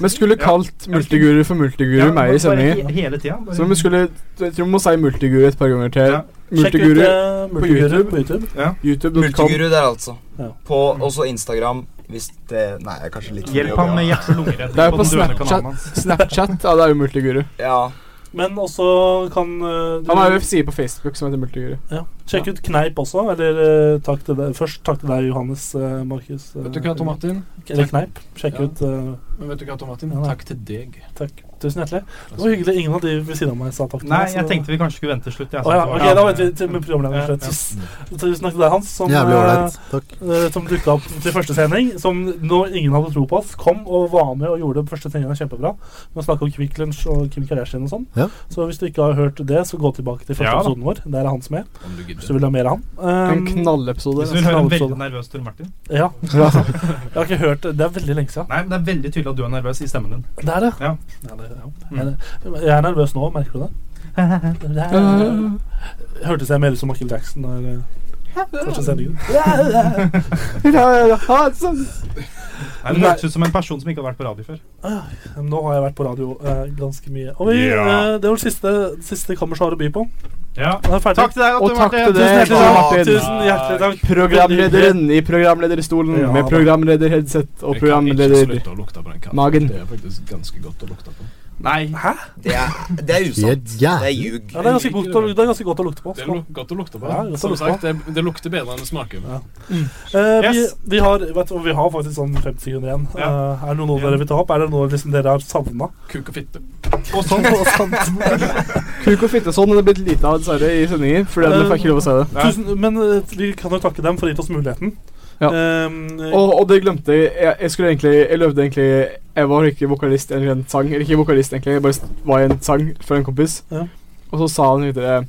Vi skulle kalt Multiguru for Multiguru Ja, meg bare i sendingen. he- hele tida, bare- Så vi skulle Jeg tror vi må si Multiguru et par ganger til. Multiguru Sjekk ut, eh, på Multiguru YouTube. på YouTube. YouTube.com. Multiguru der, altså. Ja. På også Instagram, hvis det Nei, jeg er kanskje litt for Hjelp mye å ham med be om. hjerte- og lunger Det er jo på Snapchat. Snapchat, ja, det er jo Multiguru. Ja. Men også kan eh, du- Han har jo en side på Facebook som heter Multiguru. Ja. Sjekk ut Kneip også. Eller eh, takk til deg. først takk til deg, Johannes eh, Markus. eh, Vet du hva, Tom Martin? Eller Takk. Kneip. Sjekk Ja. ut eh, Men vet du hva, Tom Martin? Ja, nei. Takk til deg. Takk. Tusen hjertelig. Det var hyggelig. Ingen av de ved siden av meg sa takk til Nei, meg, så- jeg tenkte vi kanskje skulle vente til slutt. jeg, Å så ja, det var- ok, Da venter vi til med programlederen Ja, slutt. ja. Tusen- Tusen takk til deg, Hans, som, Jævlig ålreit. eh, eh, som dukka opp til første sending. Som nå ingen hadde tro på oss. Kom og var med og gjorde første sendinga kjempebra. Med å snakke om Quick Lunch og Kim Kardashian og sånn. Ja. Så hvis du ikke har hørt det, så gå tilbake til første Ja da. episoden vår. Der er Hans med. Om du gidder. Hvis du vil ha mer av han. En Um, knallepisode. altså. Hvis du (laughs) vil høre en knallepisode. veldig nervøs Tor Martin. Ja. (laughs) Jeg har ikke hørt det. Det er veldig lenge siden. Nei, men Det er veldig tydelig at du er nervøs i stemmen din. Det er det. Ja. Ja, det, ja. Jeg er- Jeg er nervøs nå, merker du det? det er, hørtes jeg mer ut som Michael Jackson der eh, første sendingen? Nei, men Du hørtes ut som en person som ikke har vært på radio før. Ah, men Nå har jeg vært på radio eh, ganske mye. Og vi, Ja. eh, det var det siste, siste kammers har å by på. Ja. Da er vi ferdig. Takk til deg, Og Tor takk Martin. Tusen til deg, hjertelig Tom takk. Martin. Tusen hjertelig takk. Programlederen i programlederstolen Ja, med da. programlederheadset og Jeg kan ikke programleder slutte å lukte på den katten. Magen. Det er faktisk ganske godt å lukte på. Nei. Hæ? Det er, det er usant. Det er ljug. Ja, det, er ganske godt å, det er ganske godt å lukte på. altså. Det er lu- godt å lukte på. Ja, godt å Som lukte på. sagt, det, det lukter bedre enn det smaker. Eh, vi, vi, har, vet, du hva, vi har faktisk sånn 50 sekunder igjen. Eh, er det noe dere vil ta opp? Er det noe liksom dere har savna? Kuk og fitte. Og sånn. (laughs) Og sånt. Kuk og fitte og sånn er det blitt lite av dessverre i sendinger. Fordi at vi får ikke lov å si det. Tusen, men eh, vi kan jo takke dem for å ha gitt oss muligheten. Ja. Ehm, eh, Og, og det glemte jeg. jeg. Jeg skulle egentlig Jeg lovde egentlig Jeg var ikke vokalist eller en sang. Eller ikke vokalist, egentlig. Jeg bare s- var i en sang for en kompis. Ja. Og så sa han videre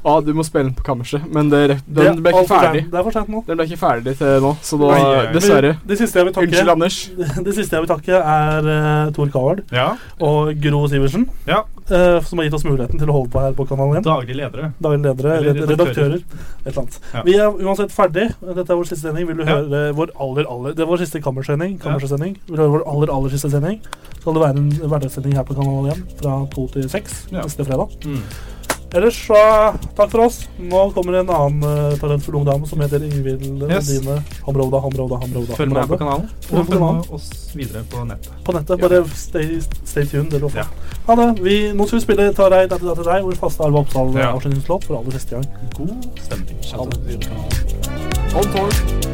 Ja, ah, du må spille den på kammerset. Men det, rek- det er den ble alt ikke for ferdig. sent. Det er for sent nå. Den ble ikke ferdig til nå, så da Oi, oi, oi. Dessverre. Men Det siste jeg vil takke, Unnskyld, Anders. (laughs) Det siste jeg vil takke, er eh, Tor Coward Ja. og Gro Sivertsen. Ja. eh, som har gitt oss muligheten til å holde på her på Kanal 1. Daglig ledere. Daglig ledere, Eller red- redaktører. redaktører. Et eller annet. Ja. Vi er uansett ferdig. Dette er vår siste sending. Vil du Ja. høre vår aller, aller Det er vår siste kammersending. kammersending. Vil du høre vår aller, aller siste sending? Så skal det være en hverdagssending her på Kanal 1 fra to til seks Ja. neste fredag. Mm. Ellers så takk for oss. Nå kommer en annen uh, talentfull ung dame som heter Ingvild Yes. Lodine Hamrovda. Hamrovda, Hamrovda. Følg med her på Hamrovda. kanalen. Følg Og med på følg kanalen. med oss videre på nettet. På nettet. Ja. Bare stay, stay tuned. Det lover jeg. Ha det. Vi, nå skal vi spille Ta deg, deg, deg, deg, vår faste Arve Oppsal-avslutningslåt for aller siste gang. God stemning. Ha det. On tour.